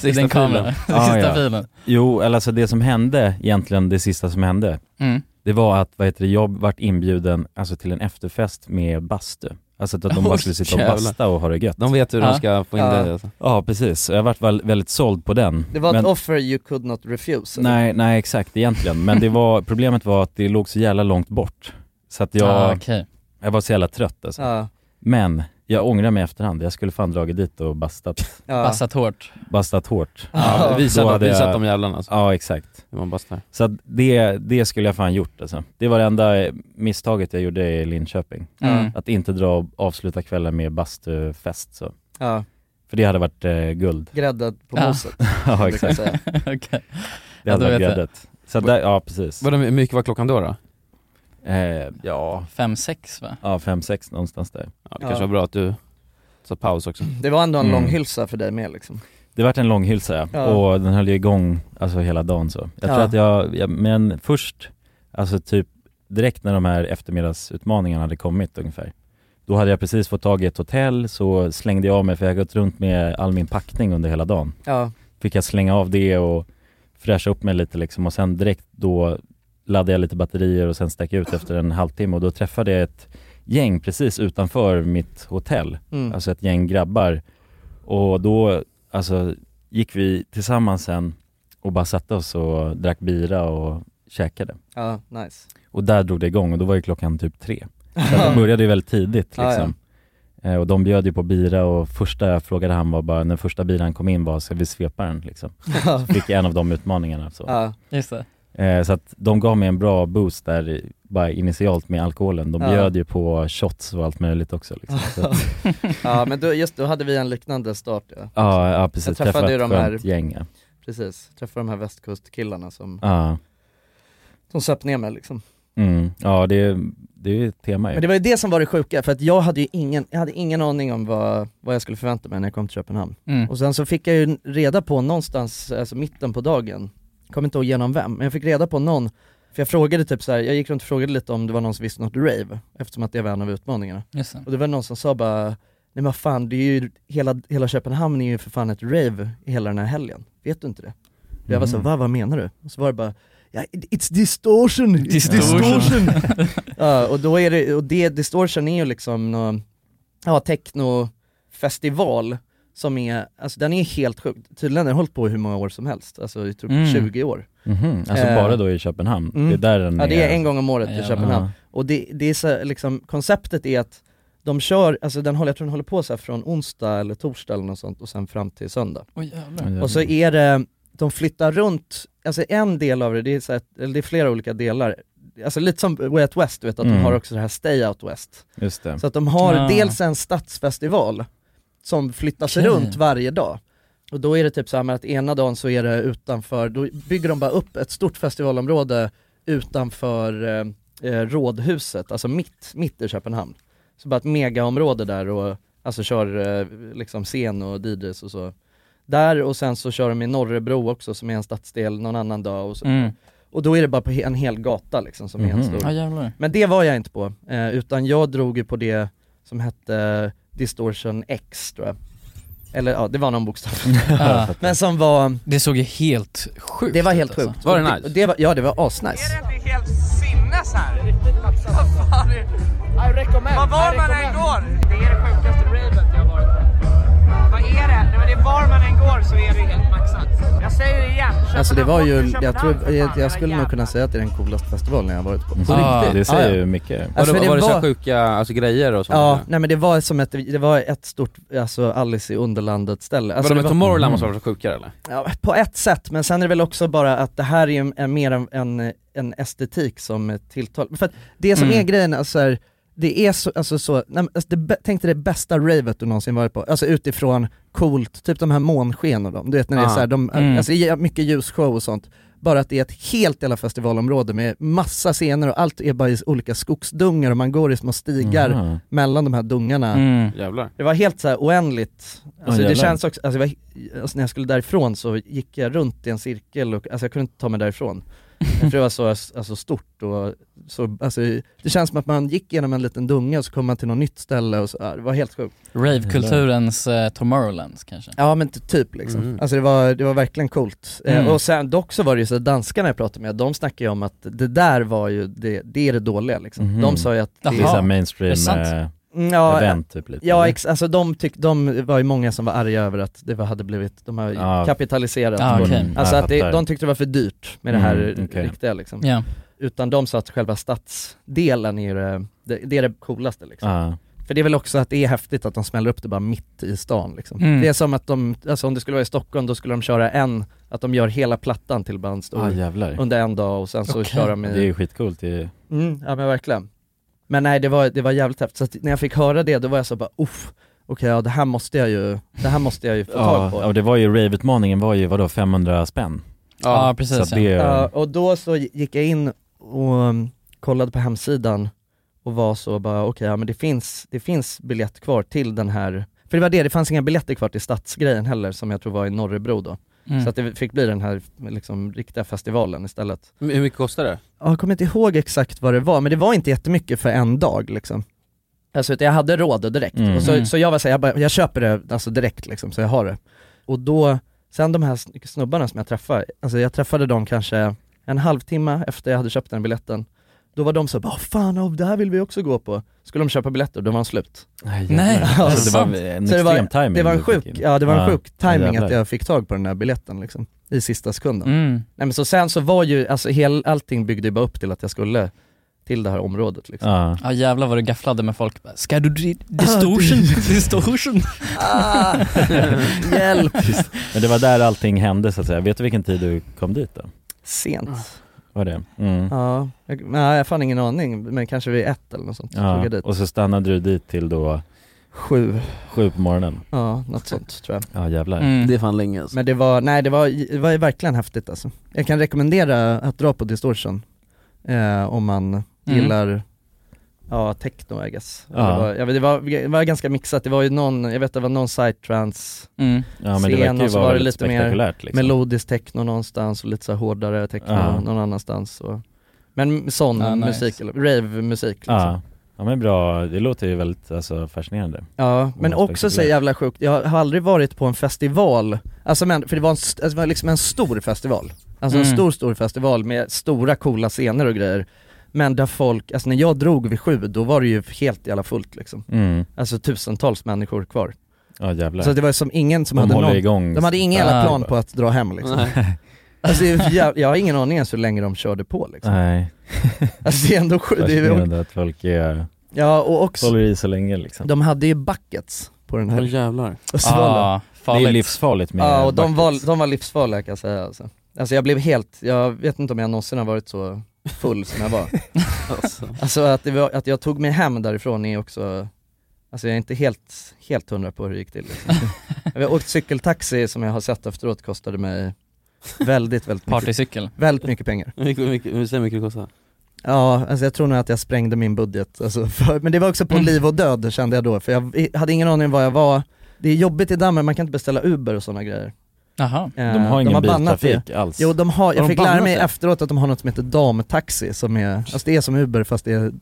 Speaker 8: Sista
Speaker 2: den kameran,
Speaker 8: filen.
Speaker 2: sista
Speaker 3: Ja, ja.
Speaker 2: filen.
Speaker 3: Jo, eller alltså det som hände egentligen, det sista som hände,
Speaker 2: Mm.
Speaker 3: det var att vad heter det, jag vart inbjuden alltså, till en efterfest med bastu. Alltså att de bara
Speaker 8: Oj,
Speaker 3: skulle sitta och
Speaker 8: jävlar.
Speaker 3: basta och ha det gött.
Speaker 8: De vet hur de Ja. ska få in dig, alltså.
Speaker 3: Ja precis, jag vart väl- väldigt såld på den.
Speaker 1: Det var
Speaker 3: Men-
Speaker 1: ett offer you could not refuse. eller?
Speaker 3: Nej, nej exakt egentligen. Men det var, problemet var att det låg så jävla långt bort. Så att jag,
Speaker 2: Ah, okej.
Speaker 3: jag var så jälla trött alltså.
Speaker 1: Ja.
Speaker 3: Men jag ångrar mig i efterhand. Jag skulle fan dragit dit och bastat.
Speaker 1: Ja.
Speaker 2: Bastat hårt.
Speaker 3: Bastat hårt.
Speaker 8: Ja,
Speaker 3: Då
Speaker 8: visa dem-
Speaker 3: hade
Speaker 8: visa
Speaker 3: jag-
Speaker 8: att de jävlarna, alltså.
Speaker 3: Ja, exakt.
Speaker 8: Man bastar.
Speaker 3: Så att det, det skulle jag fan gjort alltså. Det var det enda misstaget jag gjorde i Linköping.
Speaker 1: Mm.
Speaker 3: Att inte dra och avsluta kvällen med bastufest så.
Speaker 1: Ja.
Speaker 3: För det hade varit eh, guld.
Speaker 1: Gräddad på
Speaker 3: Ja.
Speaker 1: moset.
Speaker 3: ja,
Speaker 1: brukar jag
Speaker 3: exakt.
Speaker 1: säga.
Speaker 2: Okej.
Speaker 8: Ja,
Speaker 3: Det
Speaker 8: då
Speaker 3: hade varit
Speaker 8: vet jag.
Speaker 3: gräddet. Så där, ja precis.
Speaker 8: Vadå, hur mycket var klockan då? då?
Speaker 3: Eh, ja,
Speaker 2: Fem, sex va?
Speaker 3: ja fem, sex någonstans där.
Speaker 8: Ja, det kanske var bra att du sa paus också.
Speaker 1: Det var ändå en
Speaker 3: Mm.
Speaker 1: lång hylsa för dig med liksom.
Speaker 3: Det vart en lång hylsa ja.
Speaker 1: Ja.
Speaker 3: och den höll ju igång alltså hela dagen så. Jag tror
Speaker 1: Ja.
Speaker 3: att jag, jag, men först, alltså typ direkt när de här eftermiddagsutmaningarna hade kommit ungefär Då hade jag precis fått tag i ett hotell så slängde jag av mig för jag hade gått runt med all min packning under hela dagen
Speaker 1: Ja.
Speaker 3: Fick jag slänga av det och fräscha upp mig lite liksom och sen direkt då laddade jag lite batterier och sen stack jag ut efter en halvtimme och då träffade jag ett gäng precis utanför mitt hotell
Speaker 1: Mm.
Speaker 3: Alltså ett gäng grabbar och då, alltså, gick vi tillsammans sen och bara satte oss och drack bira och käkade.
Speaker 1: Ja, nice.
Speaker 3: Och där drog det igång och då var ju klockan typ tre. Så att det började ju väldigt tidigt
Speaker 1: Ja,
Speaker 3: liksom. Eh, Och de bjöd ju på bira och första jag frågade han var bara, när första biran kom in var, ska vi svepa den liksom?
Speaker 2: Ja.
Speaker 3: Så fick jag en av de utmaningarna. Så.
Speaker 1: Ja.
Speaker 2: Just det.
Speaker 3: Eh, Så att de gav mig en bra boost där, i- bara initialt med alkoholen. De
Speaker 1: Ja.
Speaker 3: bjöd ju på shots och allt möjligt också liksom. Så att,
Speaker 1: ja men då, just då hade vi en liknande start ja.
Speaker 3: Ja, ja, precis.
Speaker 1: Mm. Jag träffade
Speaker 3: Träffade
Speaker 1: ju
Speaker 3: ett
Speaker 1: de här,
Speaker 3: skönt gäng, ja.
Speaker 1: precis, träffade de här västkustkillarna som,
Speaker 3: ja.
Speaker 1: som söp ner mig liksom.
Speaker 3: Mm. Ja, det, det är ju ett tema ju.
Speaker 1: Men det var ju det som var det sjuka, för att jag hade ju ingen, jag hade ingen aning om vad, vad jag skulle förvänta mig när jag kom till Köpenhamn.
Speaker 3: Mm.
Speaker 1: Och sen så fick jag ju reda på någonstans, alltså mitten på dagen, kommer inte ihåg genom vem, men jag fick reda på någon, för jag frågade typ så här, jag gick runt och frågade lite om det var någon som visste något rave, eftersom att det var en av utmaningarna.
Speaker 2: Just det.
Speaker 1: Och det var någon som sa bara, nej men vad fan, det är ju, hela, hela Köpenhamn är ju för fan ett rave hela den här helgen, vet du inte det? Och jag var så,
Speaker 8: Mm.
Speaker 1: va, vad menar du? Och så var det bara, ja, it's distortion, it's
Speaker 8: Distortion.
Speaker 1: distortion. ja, och då är det, och det, distortion är ju liksom nå, ja, technofestival som är, alltså den är helt sjuk. Tydligen har den hållit på hur många år som helst, alltså jag tror
Speaker 3: Mm.
Speaker 1: 20 år.
Speaker 3: Mhm, alltså
Speaker 1: Eh, Mm.
Speaker 3: bara då i Köpenhamn? Det är där den
Speaker 1: ja, det är
Speaker 3: är-
Speaker 1: en gång om året i
Speaker 3: Jävlar.
Speaker 1: Köpenhamn.
Speaker 3: Ja.
Speaker 1: Och det, det är så, liksom, konceptet är att de kör, alltså den håller, jag tror den håller på så här från onsdag eller torsdag eller något sånt och sen fram till söndag.
Speaker 2: Oj, jävlar.
Speaker 1: och så är det, de flyttar runt, alltså en del av det, det är, så här, eller det är flera olika delar. Alltså lite som Way Out West, du vet att
Speaker 3: Mm.
Speaker 1: de har också det här Stay Out West.
Speaker 3: Just det.
Speaker 1: Så att de har
Speaker 3: Ah.
Speaker 1: dels en stadsfestival som flyttas
Speaker 3: Okej.
Speaker 1: runt varje dag. Och då är det typ så här med att ena dagen så är det utanför, då bygger de bara upp ett stort festivalområde utanför eh, eh, rådhuset, alltså mitt, mitt i Köpenhamn. Så bara ett megaområde där och alltså kör eh, liksom scen och DJs och så. Där och sen så kör de i Norrebro också som är en stadsdel någon annan dag och så.
Speaker 2: Mm.
Speaker 1: Och då är det bara på he- en hel gata liksom som är en
Speaker 2: Mhm.
Speaker 1: stor.
Speaker 2: Ja, jävlar.
Speaker 1: Men det var jag inte på, eh, utan jag drog ju på det som hette Distortion X tror jag. Eller ja, det var någon bokstav.
Speaker 2: Ja.
Speaker 1: Men som var...
Speaker 2: Det såg ju helt sjukt
Speaker 1: Det var helt
Speaker 2: ut, alltså.
Speaker 1: sjukt.
Speaker 2: Var det
Speaker 1: Och
Speaker 2: nice?
Speaker 1: och det var, ja det var asnice.
Speaker 15: inte helt sinnes här? Vad fan är... I recommend. Vad var man än går? Det är det sjukaste ravet jag har varit på. Vad är det? Nej, men det är var man än går så är det helt maxat. Jag säger det igen.
Speaker 1: Alltså det var ju, jag tror, jag, jag skulle nog kunna säga att det är den coolaste festivalen jag har varit på.
Speaker 3: På Ah, riktigt? det säger ju mycket.
Speaker 1: Alltså,
Speaker 8: var
Speaker 1: för
Speaker 8: Mm. det, var det så här
Speaker 1: var-
Speaker 8: sjuka alltså, grejer och sånt?
Speaker 1: Ja, nej men det var som ett, det var ett stort, alltså Alice i Underlandet ställe. Alltså,
Speaker 8: var det med Tomorrowland
Speaker 1: Mhm.
Speaker 8: måste vara så sjukare eller?
Speaker 1: Ja, på ett sätt, men sen är det väl också bara att det här är, en, är mer en, en, en estetik som tilltalar. För att det som
Speaker 8: Mm.
Speaker 1: är grejen, alltså, här, det är så, alltså, så nej, men, alltså, det, bä- tänk dig det bästa ravet du någonsin varit på, alltså utifrån coolt, typ de här månsken och dem, du vet när det är
Speaker 8: Ah.
Speaker 1: så här, de,
Speaker 8: Mm.
Speaker 1: alltså, ja, mycket ljusshow och sånt. Bara att det är ett helt jävla festivalområde med massa scener och allt är bara i olika skogsdungar och man går i små stigar
Speaker 8: Jaha.
Speaker 1: mellan de här dungarna.
Speaker 8: Mm. Jävlar.
Speaker 1: Det var helt så här oändligt. Alltså det
Speaker 8: jävlar.
Speaker 1: känns också, alltså, det var, alltså när jag skulle därifrån så gick jag runt i en cirkel och alltså jag kunde inte ta mig därifrån. För det var så alltså, stort och så, alltså, det känns som att man gick genom en liten dunge och så kom man till något nytt ställe och så, ja, det var helt sjukt.
Speaker 2: Ravekulturens eh, Tomorrowlands kanske?
Speaker 1: Ja men t- typ liksom.
Speaker 2: Mm.
Speaker 1: Alltså det var, det var verkligen coolt.
Speaker 2: Mm.
Speaker 1: Eh, och sen dock så var det ju så att danskarna jag pratade med, de snackade ju om att det där var ju, det, det är det dåliga liksom.
Speaker 3: Mhm.
Speaker 1: De sa ju att
Speaker 3: Det är så här mainstream,
Speaker 1: Det är sant.
Speaker 3: eh,
Speaker 1: Mm, ja,
Speaker 3: event typ lite,
Speaker 1: Ja
Speaker 3: eller?
Speaker 1: ex, alltså de tyck, de var ju många som var arga över att det var, hade blivit, de har ju
Speaker 3: Ja.
Speaker 1: kapitaliserat
Speaker 3: Ja,
Speaker 1: på det.
Speaker 3: Ah, okej.
Speaker 1: Alltså
Speaker 3: Mm. Ja,
Speaker 1: att det,
Speaker 3: fattar.
Speaker 1: de tyckte det var för dyrt med det här
Speaker 3: Mm, okej.
Speaker 1: riktiga liksom.
Speaker 2: Ja.
Speaker 1: Utan de sa att själva stadsdelen är det, det, det är det coolaste liksom.
Speaker 3: Ja.
Speaker 1: För det är väl också att det är häftigt att de smäller upp det bara mitt i stan liksom.
Speaker 3: Mm.
Speaker 1: Det är som att de, alltså om det skulle vara i Stockholm då skulle de köra en, att de gör hela plattan till bara en stor
Speaker 3: Ah, jävlar.
Speaker 1: under en dag och sen så
Speaker 3: Okej.
Speaker 1: kör de i
Speaker 3: Det är ju skitcoolt ju.
Speaker 1: Mm, ja men verkligen. Men nej det var, det var jävligt häftigt, så att när jag fick höra det då var jag så bara uff, okej ja det här måste jag ju, det här måste jag ju få
Speaker 3: Ja,
Speaker 1: tag på.
Speaker 3: ja, det var ju rave-utmaningen var ju vadå 500 spänn?
Speaker 2: Ja,
Speaker 3: Så
Speaker 2: precis,
Speaker 3: att det,
Speaker 1: Ja, och då så gick jag in och um, kollade på hemsidan och var så bara okej, ja men det finns, det finns biljett kvar till den här, för För det var det, det fanns inga biljetter kvar till stadsgrejen heller som jag tror var i Norrebro då.
Speaker 8: Mm.
Speaker 1: Så att det fick bli den här liksom, riktiga festivalen istället.
Speaker 8: Mm. Hur hur mycket kostar det?
Speaker 1: Ja, Jag kommer inte ihåg exakt vad det var, men det var inte jättemycket för en dag liksom. Alltså utan jag hade råd direkt.
Speaker 8: Mm.
Speaker 1: Och så,
Speaker 8: Mm.
Speaker 1: så jag var såhär, jag, bara, jag köper det alltså direkt liksom, så jag har det. Och då, sen de här sn- snubbarna som jag träffade, alltså jag träffade dem kanske en halvtimme efter jag hade köpt den biljetten. Då var de så bara, "Åh, fan av det här vill vi också gå på. Skulle de köpa biljetter, då var de slut.
Speaker 3: Nej, Nej,
Speaker 1: Ja,
Speaker 3: alltså, det
Speaker 1: så-
Speaker 3: var en
Speaker 1: så det var-
Speaker 3: extrem timing
Speaker 1: Det var en
Speaker 3: du fick
Speaker 1: sjuk,
Speaker 3: in.
Speaker 1: ja, det var en
Speaker 3: Ja,
Speaker 1: sjuk timing
Speaker 3: jävlar.
Speaker 1: att jag fick tag på den här biljetten liksom, i sista sekunden.
Speaker 2: Mm.
Speaker 1: Nej men så sen så var ju, alltså hel, allting byggde ju bara upp till att jag skulle till det här området liksom.
Speaker 3: Ja.
Speaker 2: Ja jävlar vad du gafflade med folk. Bara, Ska du di- distortion? distortion?
Speaker 1: Ah, hjälp!
Speaker 3: Just. Men det var där allting hände så att säga. Vet du vilken tid du kom dit då?
Speaker 1: Sent.
Speaker 3: Var det? Mm.
Speaker 1: Ja, jag, nej, jag har fan ingen aning, men kanske vid ett eller något sånt.
Speaker 3: Ja,
Speaker 1: Tog jag dit.
Speaker 3: och så stannade du dit till då?
Speaker 1: Sju.
Speaker 3: Sju på morgonen?
Speaker 1: Ja, något sånt tror jag.
Speaker 3: Ja jävlar.
Speaker 2: Mm,
Speaker 8: Det är fan länge alltså.
Speaker 1: Men det var, nej det var, det var ju verkligen häftigt alltså. Jag kan rekommendera att dra på Distortion, eh, om man
Speaker 3: Mm.
Speaker 1: gillar Ja, techno I guess.
Speaker 3: Ja.
Speaker 1: Det, var, ja, men det, var, det var ganska mixat, det var ju någon, jag vet det var någon psytrance
Speaker 2: Mm.
Speaker 3: Ja, men det verkar
Speaker 1: scen
Speaker 3: ju
Speaker 1: och så
Speaker 3: vara
Speaker 1: var det
Speaker 3: väldigt
Speaker 1: lite mer
Speaker 3: spektakulärt, liksom.
Speaker 1: melodisk techno någonstans och lite så här hårdare techno
Speaker 3: Ja.
Speaker 1: någon annanstans. Och, men sån
Speaker 2: Ja, nice.
Speaker 1: musik, eller rave-musik liksom.
Speaker 3: Ja. ja men bra, det låter ju väldigt alltså, fascinerande.
Speaker 1: Ja, men
Speaker 3: Och
Speaker 1: också så
Speaker 3: spektakulärt.
Speaker 1: jävla sjukt, jag har aldrig varit på en festival, alltså men, för det var, en, st- alltså, det var liksom en stor festival. Alltså en
Speaker 2: Mm.
Speaker 1: stor, stor festival med stora coola scener och grejer. Men där folk, alltså när jag drog vid sju, då var det ju helt jävla fullt liksom.
Speaker 3: Mm.
Speaker 1: Alltså tusentals människor kvar.
Speaker 3: Ja jävlar.
Speaker 1: Så det var som ingen som
Speaker 3: De
Speaker 1: hade
Speaker 3: håller
Speaker 1: någon,
Speaker 3: igång.
Speaker 1: de hade ingen jävla
Speaker 3: Ah.
Speaker 1: plan på att dra hem liksom.
Speaker 3: Nej.
Speaker 1: Alltså det är jä- jag har ingen aning ens hur länge de körde på liksom.
Speaker 3: Nej.
Speaker 1: Alltså det är ändå sjukt, det är,
Speaker 3: Fascinerande att folk är,
Speaker 1: ja och också,
Speaker 3: håller i så länge liksom.
Speaker 1: de hade ju buckets på den här
Speaker 3: Åh, jävlar.
Speaker 1: och svallen.
Speaker 3: Ah, farligt. Det är livsfarligt med
Speaker 1: Ja och de
Speaker 3: buckets.
Speaker 1: var, de var livsfarliga kan jag säga alltså. alltså jag blev helt, jag vet inte om jag någonsin har varit så full som jag var
Speaker 12: Alltså.
Speaker 1: Alltså att, det var, att jag tog mig hem därifrån är också, alltså jag är inte helt, helt hundra på hur det gick till liksom. Jag har åkt cykeltaxi som jag har sett efteråt kostade mig väldigt, väldigt mycket
Speaker 2: Partycykel.
Speaker 1: Väldigt mycket pengar
Speaker 8: Hur mycket, hur mycket, hur mycket det kostar?
Speaker 1: Ja, alltså jag tror nog att jag sprängde min budget, alltså för, men det var också på liv och död kände jag då, för jag hade ingen aning om var jag var. Det är jobbigt i Danmark, man kan inte beställa Uber och sådana grejer.
Speaker 2: Jaha.
Speaker 1: Eh,
Speaker 3: De har ingen
Speaker 1: bannat
Speaker 3: biltrafik
Speaker 1: det.
Speaker 3: alls.
Speaker 1: Jo, de
Speaker 3: Har
Speaker 1: har, jag
Speaker 3: de
Speaker 1: fick lära
Speaker 3: bannat
Speaker 1: mig
Speaker 3: det?
Speaker 1: efteråt att de har något som heter damtaxi som är, alltså det är som Uber fast det är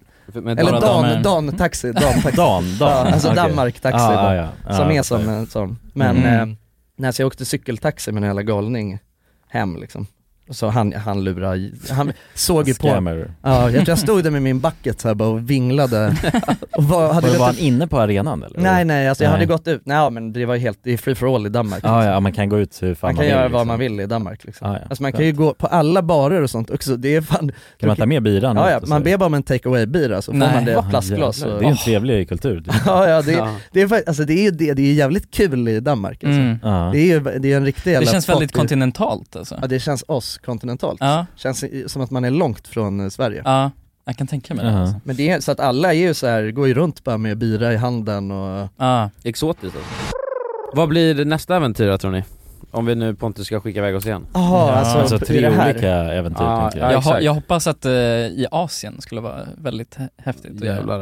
Speaker 8: med
Speaker 1: Eller
Speaker 8: bara damer.
Speaker 1: dan, dantaxi, damtaxi.
Speaker 8: Dan, dan.
Speaker 1: Ja, alltså
Speaker 8: Okej.
Speaker 1: Danmark-taxi
Speaker 8: Ah,
Speaker 1: då,
Speaker 8: ah, ja. Ah,
Speaker 1: som är
Speaker 8: jag
Speaker 1: som
Speaker 8: fattar.
Speaker 1: en sån. Men,
Speaker 8: Mm.
Speaker 1: eh, nej, så jag åkte cykeltaxi med en jävla galning hem liksom. Och Så han, han lurade, han såg ju på
Speaker 3: Scammer.
Speaker 1: Ja, jag tror jag stod där med min bucket så här bara och vinglade och var, hade
Speaker 3: Var, var
Speaker 1: gått
Speaker 3: han
Speaker 1: ut,
Speaker 3: inne på arenan eller?
Speaker 1: Nej nej, alltså jag
Speaker 3: Nej.
Speaker 1: hade gått ut, nej ja, men det var ju helt, det är free for all i Danmark
Speaker 3: Ah,
Speaker 1: liksom.
Speaker 3: Ja, ja, man kan gå ut hur fan
Speaker 1: Man
Speaker 3: man,
Speaker 1: kan
Speaker 3: vill,
Speaker 1: göra
Speaker 3: liksom.
Speaker 1: vad man vill i Danmark liksom.
Speaker 3: Ah, ja.
Speaker 1: Alltså man kan ju gå på alla barer och sånt också, det är fan
Speaker 3: Kan man ta med biran?
Speaker 1: Ja, ja
Speaker 3: ut och så?
Speaker 1: man ber bara om en take away bira så får
Speaker 3: Nej.
Speaker 1: man det i
Speaker 3: Va?
Speaker 1: plastglas
Speaker 3: Jävlar,
Speaker 1: och...
Speaker 3: Det är en trevlig kultur. typ. det.
Speaker 1: Ja, ja, det,
Speaker 3: Ja.
Speaker 1: är, det, är, fakt- alltså, det är ju det, det är jävligt kul i Danmark alltså.
Speaker 2: Mm.
Speaker 3: Ja.
Speaker 1: det, är, ju- det är en riktig
Speaker 2: Det
Speaker 1: jävla
Speaker 2: känns väldigt
Speaker 1: party-
Speaker 2: kontinentalt alltså.
Speaker 1: Ja det känns oss kontinentalt,
Speaker 2: Ja.
Speaker 1: känns i- som att man är långt från eh, Sverige
Speaker 2: Ja, jag kan tänka mig det. Alltså.
Speaker 1: Men det är så att alla är ju så här, går ju runt bara med bira i handen och
Speaker 2: Ja.
Speaker 8: Exotiskt alltså. Vad blir nästa äventyr då, tror ni? Om vi nu Pontus ska skicka iväg oss igen?
Speaker 1: Jaha, Ja, alltså, alltså,
Speaker 3: tre det här? olika äventyr, tänker jag.
Speaker 2: jag, ho-
Speaker 8: exakt.
Speaker 2: jag hoppas att eh, i Asien skulle vara väldigt hä- häftigt att göra.
Speaker 8: Jävlar,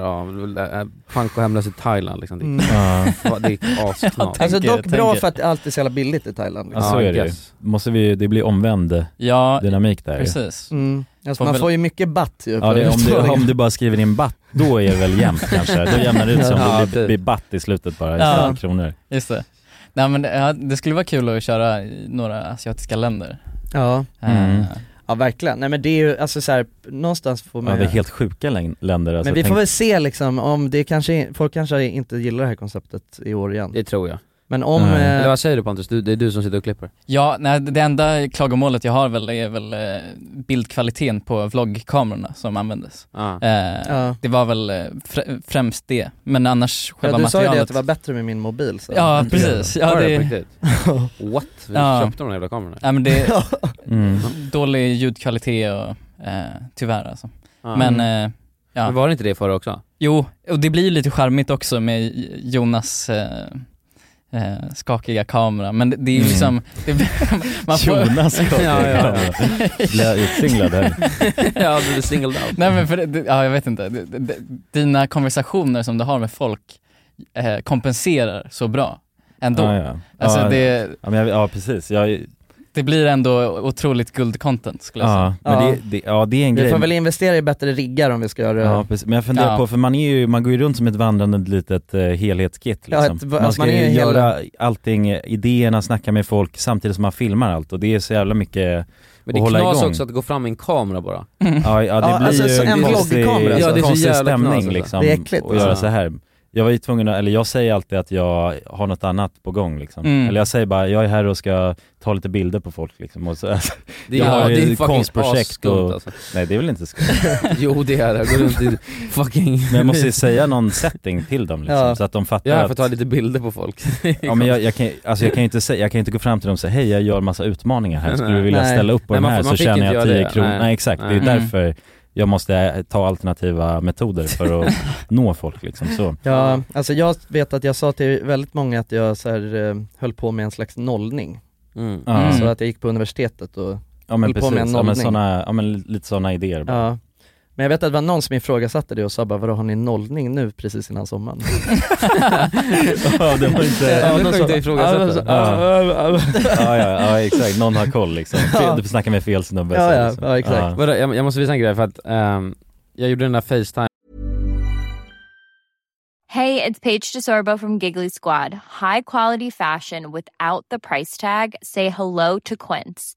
Speaker 8: ja. Panko hemlös i Thailand liksom. Det,
Speaker 1: Mm.
Speaker 3: Ja.
Speaker 8: Fan, det är asknas.
Speaker 1: Alltså dock bra för att allt är så jävla billigt i Thailand liksom.
Speaker 3: Ja, så är det ju. Måste vi, det blir omvänd
Speaker 2: Ja,
Speaker 3: dynamik där ju.
Speaker 2: precis.
Speaker 1: Mm. Alltså,
Speaker 2: Får
Speaker 1: man
Speaker 2: väl-
Speaker 1: får ju mycket batt ju
Speaker 3: Ja,
Speaker 1: för
Speaker 3: det, om, du,
Speaker 1: utstrålningen.
Speaker 3: om du bara skriver in batt, då är det väl jämnt kanske. Då jämnar det ut sig om det
Speaker 1: typ.
Speaker 3: blir, blir batt i slutet bara,
Speaker 2: Ja.
Speaker 3: ja. kronor.
Speaker 2: Just det. Nej men det, ja, det skulle vara kul att köra i några asiatiska länder. Eh,
Speaker 1: Ja,
Speaker 3: Mm.
Speaker 1: ja verkligen. Nej men det är ju, alltså så här, någonstans får
Speaker 3: Ja,
Speaker 1: man
Speaker 3: det är
Speaker 1: ju-
Speaker 3: helt sjuka län- länder alltså.
Speaker 1: Men vi
Speaker 3: Tänk-
Speaker 1: får väl se liksom om det kanske, folk kanske inte gillar det här konceptet i år igen
Speaker 8: Det tror jag.
Speaker 1: Men om,
Speaker 8: Mm.
Speaker 1: eh,
Speaker 8: Eller vad säger du Pontus? Du, det är du som sitter och klipper.
Speaker 2: Ja, nej, det enda klagomålet jag har väl är väl eh, bildkvaliteten på vloggkamerorna som användes.
Speaker 8: Ah.
Speaker 2: Eh,
Speaker 1: Ja.
Speaker 2: Det var väl eh, frä- främst det, men annars
Speaker 1: ja,
Speaker 2: själva
Speaker 1: du sa ju
Speaker 2: materialet.
Speaker 1: det att det var bättre Mm. med min mobil så.
Speaker 2: Ja, precis. Ja,
Speaker 8: Har du
Speaker 2: det-
Speaker 8: på riktigt? What? Vi köpte de där jävla kamerorna.
Speaker 2: Ja, men det är
Speaker 3: Mm.
Speaker 2: dålig ljudkvalitet och eh, tyvärr alltså.
Speaker 8: Ja.
Speaker 2: Men,
Speaker 1: Mm.
Speaker 2: eh, ja.
Speaker 8: Men var det inte det förra också?
Speaker 2: Jo, och det blir ju lite charmigt också med Jonas eh, eh, skakiga kamera, men det, det är ju
Speaker 3: Mm.
Speaker 2: liksom... Det, man
Speaker 3: Jonas skakiga kamera. Blir jag utsinglad här?
Speaker 8: ja, du är singled out.
Speaker 2: Nej men för det, det- ja jag vet inte. Det- det- det- Dina konversationer som du har med folk eh, kompenserar så bra ändå.
Speaker 3: Ja, ja.
Speaker 2: Alltså
Speaker 3: ja,
Speaker 2: det,
Speaker 3: ja, men jag, ja precis, jag,
Speaker 2: det blir ändå otroligt guldcontent skulle jag
Speaker 3: ja,
Speaker 2: säga.
Speaker 3: men Det, det, ja, det är en
Speaker 1: Vi
Speaker 3: grej.
Speaker 1: får väl investera i bättre riggar om vi ska göra
Speaker 3: Ja, precis. Men jag funderar
Speaker 1: Ja.
Speaker 3: på, för man, är ju, man går ju runt som ett vandrande litet eh, helhetskit
Speaker 1: Ja,
Speaker 3: liksom.
Speaker 1: ett-
Speaker 3: Man
Speaker 1: alltså,
Speaker 3: ska
Speaker 1: man är
Speaker 3: ju
Speaker 1: ju
Speaker 3: göra allting, eh, idéerna, snacka med folk samtidigt som man filmar allt och det är så jävla mycket
Speaker 8: Men det
Speaker 3: att hålla igång.
Speaker 8: knas också att gå fram med en kamera bara.
Speaker 3: Ja, ja det blir ju en konstig,
Speaker 8: Ja, det är så
Speaker 3: konstig
Speaker 8: jävla
Speaker 3: stämning
Speaker 8: knas alltså.
Speaker 3: liksom, att göra så här. Jag var ju tvungen att, eller jag säger alltid att jag har något annat på gång liksom.
Speaker 8: Mm.
Speaker 3: Eller jag säger bara, jag är här och ska ta lite bilder på folk liksom. Och så,
Speaker 8: Det är-
Speaker 3: jag
Speaker 8: ja,
Speaker 3: har
Speaker 8: det är
Speaker 3: ju
Speaker 8: fucking
Speaker 3: konstprojekt
Speaker 8: asskumt,
Speaker 3: och,
Speaker 8: alltså.
Speaker 3: nej det är väl inte skumt.
Speaker 8: Jo det är det, gå runt i fucking...
Speaker 3: Men jag måste ju säga någon setting till dem liksom,
Speaker 8: Ja.
Speaker 3: så att de fattar
Speaker 8: Ja,
Speaker 3: att
Speaker 8: jag får ta lite bilder på folk.
Speaker 3: Ja men jag, jag, kan, alltså jag kan ju inte säga, jag kan ju inte gå fram till dem och säga hej jag gör massa utmaningar här, skulle du
Speaker 8: Nej.
Speaker 3: vilja
Speaker 8: Nej.
Speaker 3: ställa upp på
Speaker 8: Nej,
Speaker 3: den
Speaker 8: man
Speaker 3: här
Speaker 8: får- man
Speaker 3: så
Speaker 8: fick
Speaker 3: tjänar
Speaker 8: inte
Speaker 3: jag
Speaker 8: göra
Speaker 3: 10
Speaker 8: det.
Speaker 3: kronor.
Speaker 8: Nej.
Speaker 3: Nej, exakt,
Speaker 8: Nej.
Speaker 3: det är
Speaker 8: Mm.
Speaker 3: därför jag måste eh, ta alternativa metoder för att nå folk liksom så.
Speaker 1: Ja, alltså jag vet att jag sa till väldigt många att jag så här, eh, höll på med en slags nollning.
Speaker 8: Mm.
Speaker 3: Ja.
Speaker 1: Så att jag gick på universitetet och
Speaker 3: Ja men
Speaker 1: höll på med en
Speaker 3: precis, ja, men,
Speaker 1: nollning.
Speaker 3: såna, ja, men lite sådana idéer bara.
Speaker 1: Ja. Men jag vet att det var någon som ifrågasatte det och sa bara vadå har ni nollning nu precis innan sommaren?
Speaker 3: Ja, det var inte...
Speaker 1: Ja, någon sa- Ja, någon sa-
Speaker 3: Ja.
Speaker 1: ja,
Speaker 3: Ja, ja, ja, exakt, någon har koll liksom.
Speaker 8: Ja.
Speaker 3: Du snackar med fel snubbe.
Speaker 8: Ja,
Speaker 3: så,
Speaker 8: ja,
Speaker 3: liksom.
Speaker 8: ja, exakt. Vadå, jag, jag måste visa en grej för att ehm, jag gjorde den där facetime
Speaker 21: Hey, it's Paige DeSorbo from Giggly Squad. High quality fashion without the price tag. Say hello to Quince.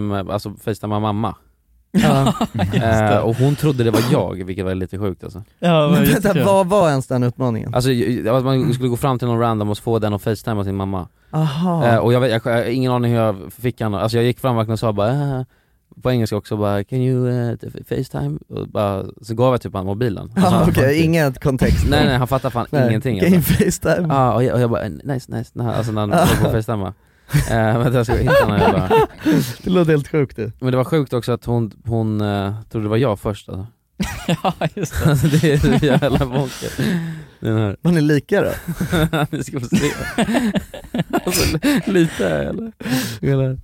Speaker 8: med, alltså facetimea mamma.
Speaker 1: det.
Speaker 8: Eh, och hon trodde det var jag, vilket var lite sjukt alltså.
Speaker 1: Ja, men vänta, vad var ens den utmaningen?
Speaker 8: Alltså jag- att man skulle gå fram till någon random och få den att facetimea sin mamma.
Speaker 1: Aha.
Speaker 8: Eh, och jag, vet, jag, jag har ingen aning hur jag fick han, alltså jag gick fram verkligen och sa bara eh, på engelska också bara 'Can you eh, t- facetime?' Och bara, så gav jag typ han mobilen.
Speaker 1: Ja,
Speaker 8: Alltså, han-
Speaker 1: Okej, ingen kontext.
Speaker 8: Nej nej han fattar fan
Speaker 1: Nej,
Speaker 8: ingenting alltså.
Speaker 1: Game facetime.
Speaker 8: Ja och jag, och jag bara 'nice nice' nej, alltså när han höll på att facetimea. Eh, Vänta jag ska hitta honom jag bara
Speaker 1: Det låter helt sjukt det.
Speaker 8: Men det var sjukt också att hon, hon eh, trodde det var jag först alltså.
Speaker 2: Ja, just det.
Speaker 8: Alltså, det är så jävla bonkert. Den här.
Speaker 1: Var ni lika då?
Speaker 8: Vi ska få se. alltså, lite är jag, eller? Eller?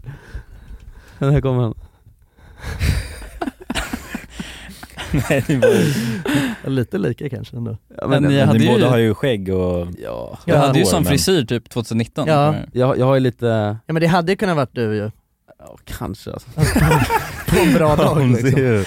Speaker 8: Den här kommer han.
Speaker 3: Nej, det var
Speaker 1: Lite lika kanske ändå.
Speaker 8: Ja,
Speaker 3: men, men, ni båda har ju skägg och...
Speaker 8: Ja.
Speaker 2: Du hade ju sån
Speaker 3: men-
Speaker 2: frisyr typ 2019.
Speaker 1: Ja.
Speaker 8: Jag, jag har ju lite,
Speaker 1: Ja men det hade ju kunnat varit du ju.
Speaker 8: ja, kanske alltså.
Speaker 1: På en bra
Speaker 8: Ja,
Speaker 1: dag
Speaker 8: hon ser
Speaker 1: liksom.
Speaker 8: ju-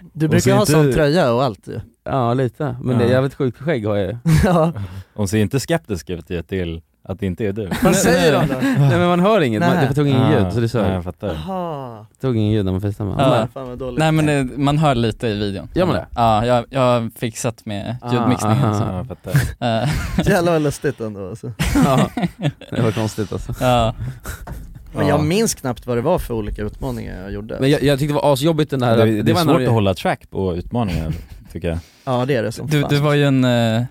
Speaker 1: Du
Speaker 8: hon
Speaker 1: brukar
Speaker 8: ser
Speaker 1: ju ha
Speaker 8: inte-
Speaker 1: sån tröja och allt ju.
Speaker 8: Ja lite, men det är
Speaker 3: Ja.
Speaker 8: jävligt sjukt skägg har jag ju.
Speaker 1: Ja.
Speaker 3: Hon ser inte skeptisk ut ju till att det inte är du.
Speaker 8: Nej, nej. Nej men man hör inget, man,
Speaker 2: Nej.
Speaker 8: det tog ingen
Speaker 3: Ah,
Speaker 8: ljud så det
Speaker 3: nej,
Speaker 8: sög.
Speaker 3: jag fattar.
Speaker 1: Jaha.
Speaker 8: Det tog ingen ljud när man facetimade.
Speaker 2: Ja.
Speaker 1: fan vad dåligt.
Speaker 2: Nej men det, man hör lite i videon.
Speaker 8: Gör man det?
Speaker 2: Ja, jag, jag har fixat med
Speaker 8: Ah,
Speaker 2: ljudmixningen.
Speaker 8: aha,
Speaker 2: så.
Speaker 8: jag fattar.
Speaker 2: Eh,
Speaker 1: Jävlar vad lustigt ändå alltså.
Speaker 8: Ja, det var konstigt alltså.
Speaker 2: Ja.
Speaker 1: Men jag minns knappt vad det var för olika utmaningar jag gjorde.
Speaker 8: Men jag, jag tyckte det var asjobbigt den här...
Speaker 3: Det, det,
Speaker 8: var
Speaker 3: är
Speaker 8: en av
Speaker 3: svårt
Speaker 8: de-
Speaker 3: att hålla track på utmaningar tycker jag.
Speaker 1: Ja det är det som
Speaker 2: Du,
Speaker 1: fan.
Speaker 2: du var ju en, eh,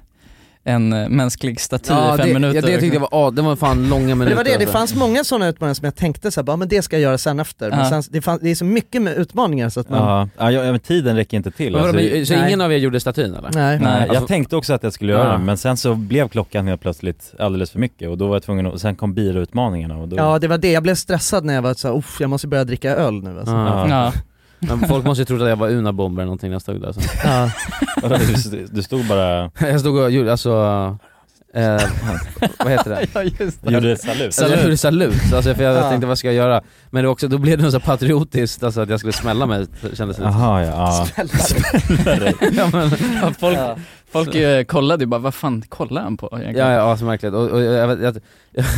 Speaker 2: en eh, mänsklig staty
Speaker 1: Ja,
Speaker 2: i fem
Speaker 1: det-
Speaker 2: minuter.
Speaker 1: ja, det tyckte jag var-
Speaker 2: ja, det var fan långa
Speaker 1: Men det var det,
Speaker 8: alltså.
Speaker 1: det fanns många sådana utmaningar som jag tänkte så här, bara, men det ska jag göra sen efter.
Speaker 2: Ja.
Speaker 1: Men sen, det, fanns, det är så mycket med utmaningar så att man...
Speaker 3: Ja, ja, ja men tiden räcker inte till. alltså,
Speaker 1: Men vadå, men- så Nej. ingen
Speaker 3: av er gjorde statyn eller?
Speaker 1: Nej.
Speaker 3: Nej.
Speaker 1: Alltså-
Speaker 3: jag tänkte också att jag skulle göra
Speaker 1: Ja.
Speaker 3: den men sen så blev klockan helt plötsligt alldeles för mycket och då var jag tvungen att, sen kom bilutmaningarna och då...
Speaker 1: Ja det var det, jag blev stressad när jag var såhär, uff jag måste börja dricka öl nu alltså.
Speaker 3: Ja. Ja.
Speaker 8: Men folk måste ju tro att jag var Unabomber eller någonting när jag stod där sen.
Speaker 1: Ja.
Speaker 3: Du, du stod bara...
Speaker 8: Jag stod och gjorde, alltså, eh, vad heter det?
Speaker 2: Ja, just det.
Speaker 3: Gjorde salut.
Speaker 8: Alltså, jag gjorde salut, alltså, för jag
Speaker 2: Ja.
Speaker 8: tänkte vad ska jag göra? Men det var också, då blev det något så patriotiskt, alltså att jag skulle smälla mig kändes det
Speaker 3: Jaha ja,
Speaker 8: ja. Smälla dig? ja, men,
Speaker 2: Ja, folk folk eh, kollade ju bara, vad fan kollar han på egentligen?
Speaker 8: Ja, ja, asmärkligt. Och, och jag, vet- jag,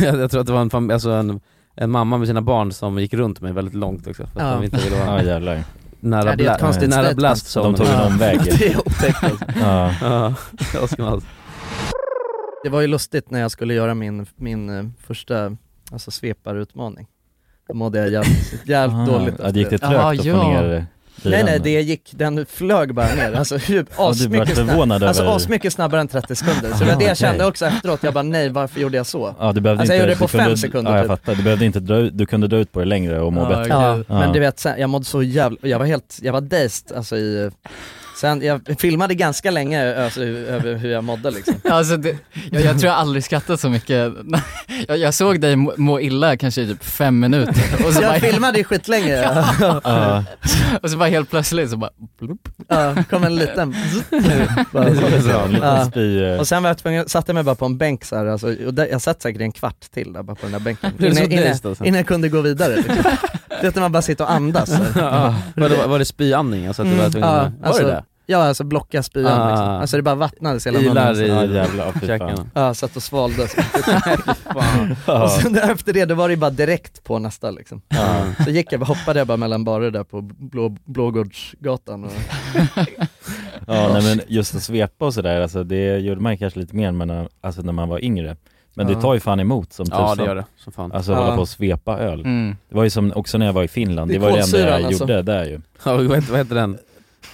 Speaker 8: jag, jag tror att det var en, fam- alltså en, en mamma med sina barn som gick runt mig väldigt långt också, för att
Speaker 1: Ja.
Speaker 8: de inte ville vara
Speaker 3: Ja, jävlar.
Speaker 8: nära,
Speaker 1: Ja, det är ett
Speaker 8: bla-
Speaker 1: konstigt
Speaker 8: nära
Speaker 1: statement.
Speaker 8: blast
Speaker 3: De tog en
Speaker 8: Ja.
Speaker 3: omväg.
Speaker 1: det är otäckt alltså.
Speaker 3: Ja.
Speaker 8: Ja, jag ska man-
Speaker 1: Det var ju lustigt när jag skulle göra min, min eh, första alltså, sveparutmaning. Då mådde jag jävligt, jävligt
Speaker 3: Ah,
Speaker 1: dåligt.
Speaker 3: ja, det gick det
Speaker 1: efter
Speaker 3: trögt att få ner bilen?
Speaker 1: Nej nej, det gick, den flög bara ner. Alltså hur-
Speaker 3: var
Speaker 1: asmycket
Speaker 3: förvånad
Speaker 1: snabb, alltså,
Speaker 3: över- Ah,
Speaker 1: asmycket snabbare än 30 sekunder. Så det var det
Speaker 3: okej.
Speaker 1: jag kände också efteråt, jag bara nej varför gjorde jag så?
Speaker 3: Ja, du behövde
Speaker 1: alltså jag
Speaker 3: inte,
Speaker 1: gjorde det på
Speaker 3: du kunde,
Speaker 1: fem sekunder
Speaker 3: Ja jag
Speaker 1: typ.
Speaker 3: fattar, du behövde inte dra ut, du kunde dra ut på det längre och må bättre.
Speaker 1: Ja, men du vet, sen, jag mådde så jävla, jag var helt, jag var dazed alltså i, sen, jag filmade ganska länge alltså, hur- över hur jag mådde liksom.
Speaker 2: Alltså det, jag, jag tror jag aldrig skrattat så mycket. Jag, jag såg dig må- må illa kanske i typ fem minuter.
Speaker 1: jag filmade ju skitlänge.
Speaker 2: Ja. och så bara helt plötsligt så bara, blup.
Speaker 1: Ja, kom en liten...
Speaker 2: Det är så,
Speaker 3: en liten
Speaker 1: Ja.
Speaker 3: spy, eh.
Speaker 1: Och sen var jag tvungen, satte jag mig bara på en bänk så här, alltså, och där, jag satt säkert i en kvart till där, bara på den där bänken.
Speaker 8: Blev du så
Speaker 1: innan,
Speaker 8: dazed alltså?
Speaker 1: innan jag kunde gå vidare. Liksom. Du vet när man bara sitter och andas. så här.
Speaker 8: Ja. Var det, var det spyandning? Alltså, att du
Speaker 1: Mm,
Speaker 8: var, tvungen-
Speaker 1: ja,
Speaker 8: var
Speaker 1: alltså,
Speaker 8: det det?
Speaker 1: Ja, alltså blocka spyan
Speaker 8: Ah.
Speaker 1: liksom. Alltså det bara vattnades hela
Speaker 8: Ilar
Speaker 1: munnen.
Speaker 8: i
Speaker 1: Ja,
Speaker 8: jävlar, fy fan.
Speaker 1: käkarna. Ja, satt och svalde. så.
Speaker 8: Ja. Ah.
Speaker 1: och sen efter det, då var det ju bara direkt på nästa liksom.
Speaker 8: Ja.
Speaker 1: Så gick jag, bara- hoppade jag bara mellan barer där på Blå, Blågårdsgatan och...
Speaker 3: Ja, nej, men just att svepa och sådär, alltså, det gjorde man kanske lite mer men, alltså, när man var yngre. Men
Speaker 8: Ja.
Speaker 3: det tar ju fan emot som
Speaker 8: Ja,
Speaker 3: tusan.
Speaker 8: det gör det, som fan.
Speaker 3: Alltså
Speaker 8: Ja.
Speaker 3: hålla på och svepa öl.
Speaker 8: Mm.
Speaker 3: Det var ju som också när jag var i Finland,
Speaker 8: Det
Speaker 3: det,
Speaker 8: är
Speaker 3: var det enda
Speaker 8: kolsyran,
Speaker 3: jag
Speaker 8: alltså.
Speaker 3: gjorde där ju.
Speaker 8: Ja, vad heter- vad heter den?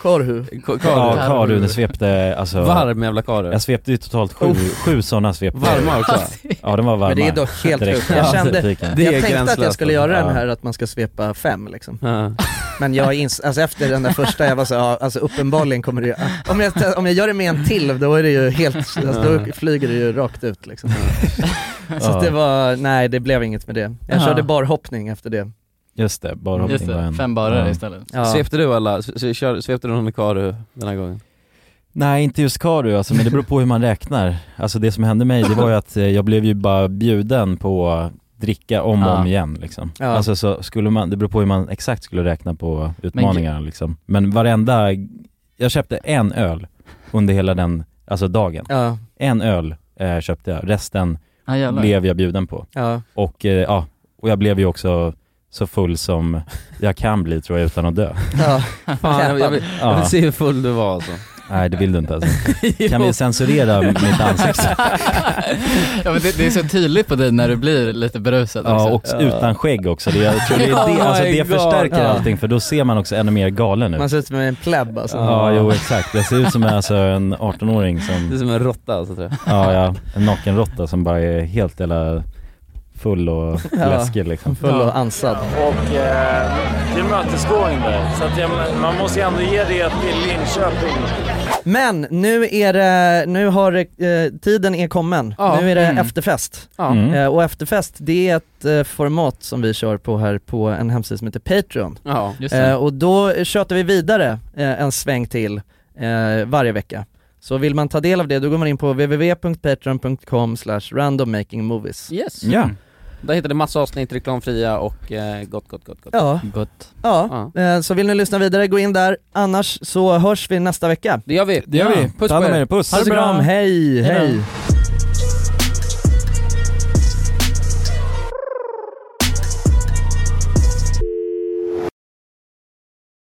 Speaker 1: Korhu.
Speaker 8: Ko-
Speaker 3: Ja, karu, det svepte alltså...
Speaker 8: Varm jävla karu.
Speaker 3: Jag svepte ju totalt sju,
Speaker 8: Uff.
Speaker 3: sju sådana svep.
Speaker 8: Varma också.
Speaker 3: Ja, de var varma.
Speaker 1: Men det är dock helt
Speaker 3: Direkt.
Speaker 1: sjukt. Jag, kände,
Speaker 3: Ja,
Speaker 1: jag
Speaker 3: repliken.
Speaker 1: tänkte att jag skulle göra
Speaker 8: alltså.
Speaker 3: Ja.
Speaker 1: den här att man ska svepa fem liksom.
Speaker 8: Ja.
Speaker 1: Men jag ins- alltså efter den där första, jag var så, ja, alltså uppenbarligen kommer det ju, om jag, om jag gör det med en till då är det ju helt, alltså, då
Speaker 8: Ja.
Speaker 1: flyger det ju rakt ut liksom. Så
Speaker 3: Ja.
Speaker 1: att det var, nej det blev inget med det. Jag
Speaker 8: Ja.
Speaker 1: körde barhoppning efter det.
Speaker 3: Just det, bara
Speaker 8: Just det,
Speaker 3: var en.
Speaker 2: fem barer istället.
Speaker 1: Ja.
Speaker 8: Svepte du alla, s- s- kör- svepte du någon med karu den här gången?
Speaker 3: Nej inte just karu alltså, men det beror på hur man räknar. Alltså det som hände mig det var ju att eh, jag blev ju bara bjuden på dricka om och
Speaker 8: Ja.
Speaker 3: om igen liksom.
Speaker 8: Ja.
Speaker 3: Alltså så skulle man, det beror på hur man exakt skulle räkna på utmaningarna
Speaker 8: Men-
Speaker 3: liksom. Men varenda, jag köpte en öl under hela den, alltså dagen.
Speaker 1: Ja.
Speaker 3: En öl eh, köpte jag, resten
Speaker 2: Ja, jävlar.
Speaker 3: blev jag bjuden på.
Speaker 1: Ja.
Speaker 3: Och eh, ja, och jag blev ju också så full som jag kan bli tror jag utan att dö.
Speaker 1: Ja.
Speaker 8: Fan, jag, jag, vill, jag vill se hur full du var alltså.
Speaker 3: Nej det vill du inte alltså. Kan
Speaker 8: Jo.
Speaker 3: vi censurera mitt ansikte?
Speaker 2: Ja, men det, det är så tydligt på dig när du blir lite berusad.
Speaker 3: Ja och
Speaker 2: också.
Speaker 3: utan skägg också, det, jag tror det, är
Speaker 2: Oh my
Speaker 3: det, alltså, det
Speaker 2: God.
Speaker 3: förstärker
Speaker 2: Ja.
Speaker 3: allting för då ser man också ännu mer galen ut.
Speaker 1: Man ser ut som en pleb alltså.
Speaker 3: Ja jo exakt, jag ser ut som alltså, en 18-åring som...
Speaker 8: Det är som en råtta alltså tror jag.
Speaker 3: Ja ja, en nakenråtta som bara är helt jävla full och
Speaker 1: Ja.
Speaker 3: läskig liksom.
Speaker 1: Full och ansad.
Speaker 11: Och eh, tillmötesgående. Så att jag, man måste ju ändå ge det till Linköping.
Speaker 1: Men nu är det, nu har eh, tiden är kommen.
Speaker 8: Ja.
Speaker 1: Nu är det
Speaker 8: Mm.
Speaker 1: efterfest.
Speaker 8: Ja. Mm.
Speaker 1: Eh, och efterfest det är ett eh, format som vi kör på här på en hemsida som heter Patreon.
Speaker 8: Ja, just det.
Speaker 1: eh, och då tjötar vi vidare eh, en sväng till eh, varje vecka. Så vill man ta del av det då går man in på www.patreon.com randommakingmovies.
Speaker 8: Yes.
Speaker 1: Ja.
Speaker 8: Där hittade massa avsnitt reklamfria och eh, gott, gott, gott, gott.
Speaker 1: Ja.
Speaker 2: Gott.
Speaker 1: Ja, eh, så vill ni lyssna vidare gå in där. Annars så hörs vi nästa vecka.
Speaker 8: Det gör vi.
Speaker 1: Det gör vi.
Speaker 8: Puss
Speaker 1: Ta hand
Speaker 8: på
Speaker 1: om
Speaker 8: er.
Speaker 1: er. Puss.
Speaker 8: Ha det bra.
Speaker 1: Hej,
Speaker 8: Hej då.
Speaker 1: hej.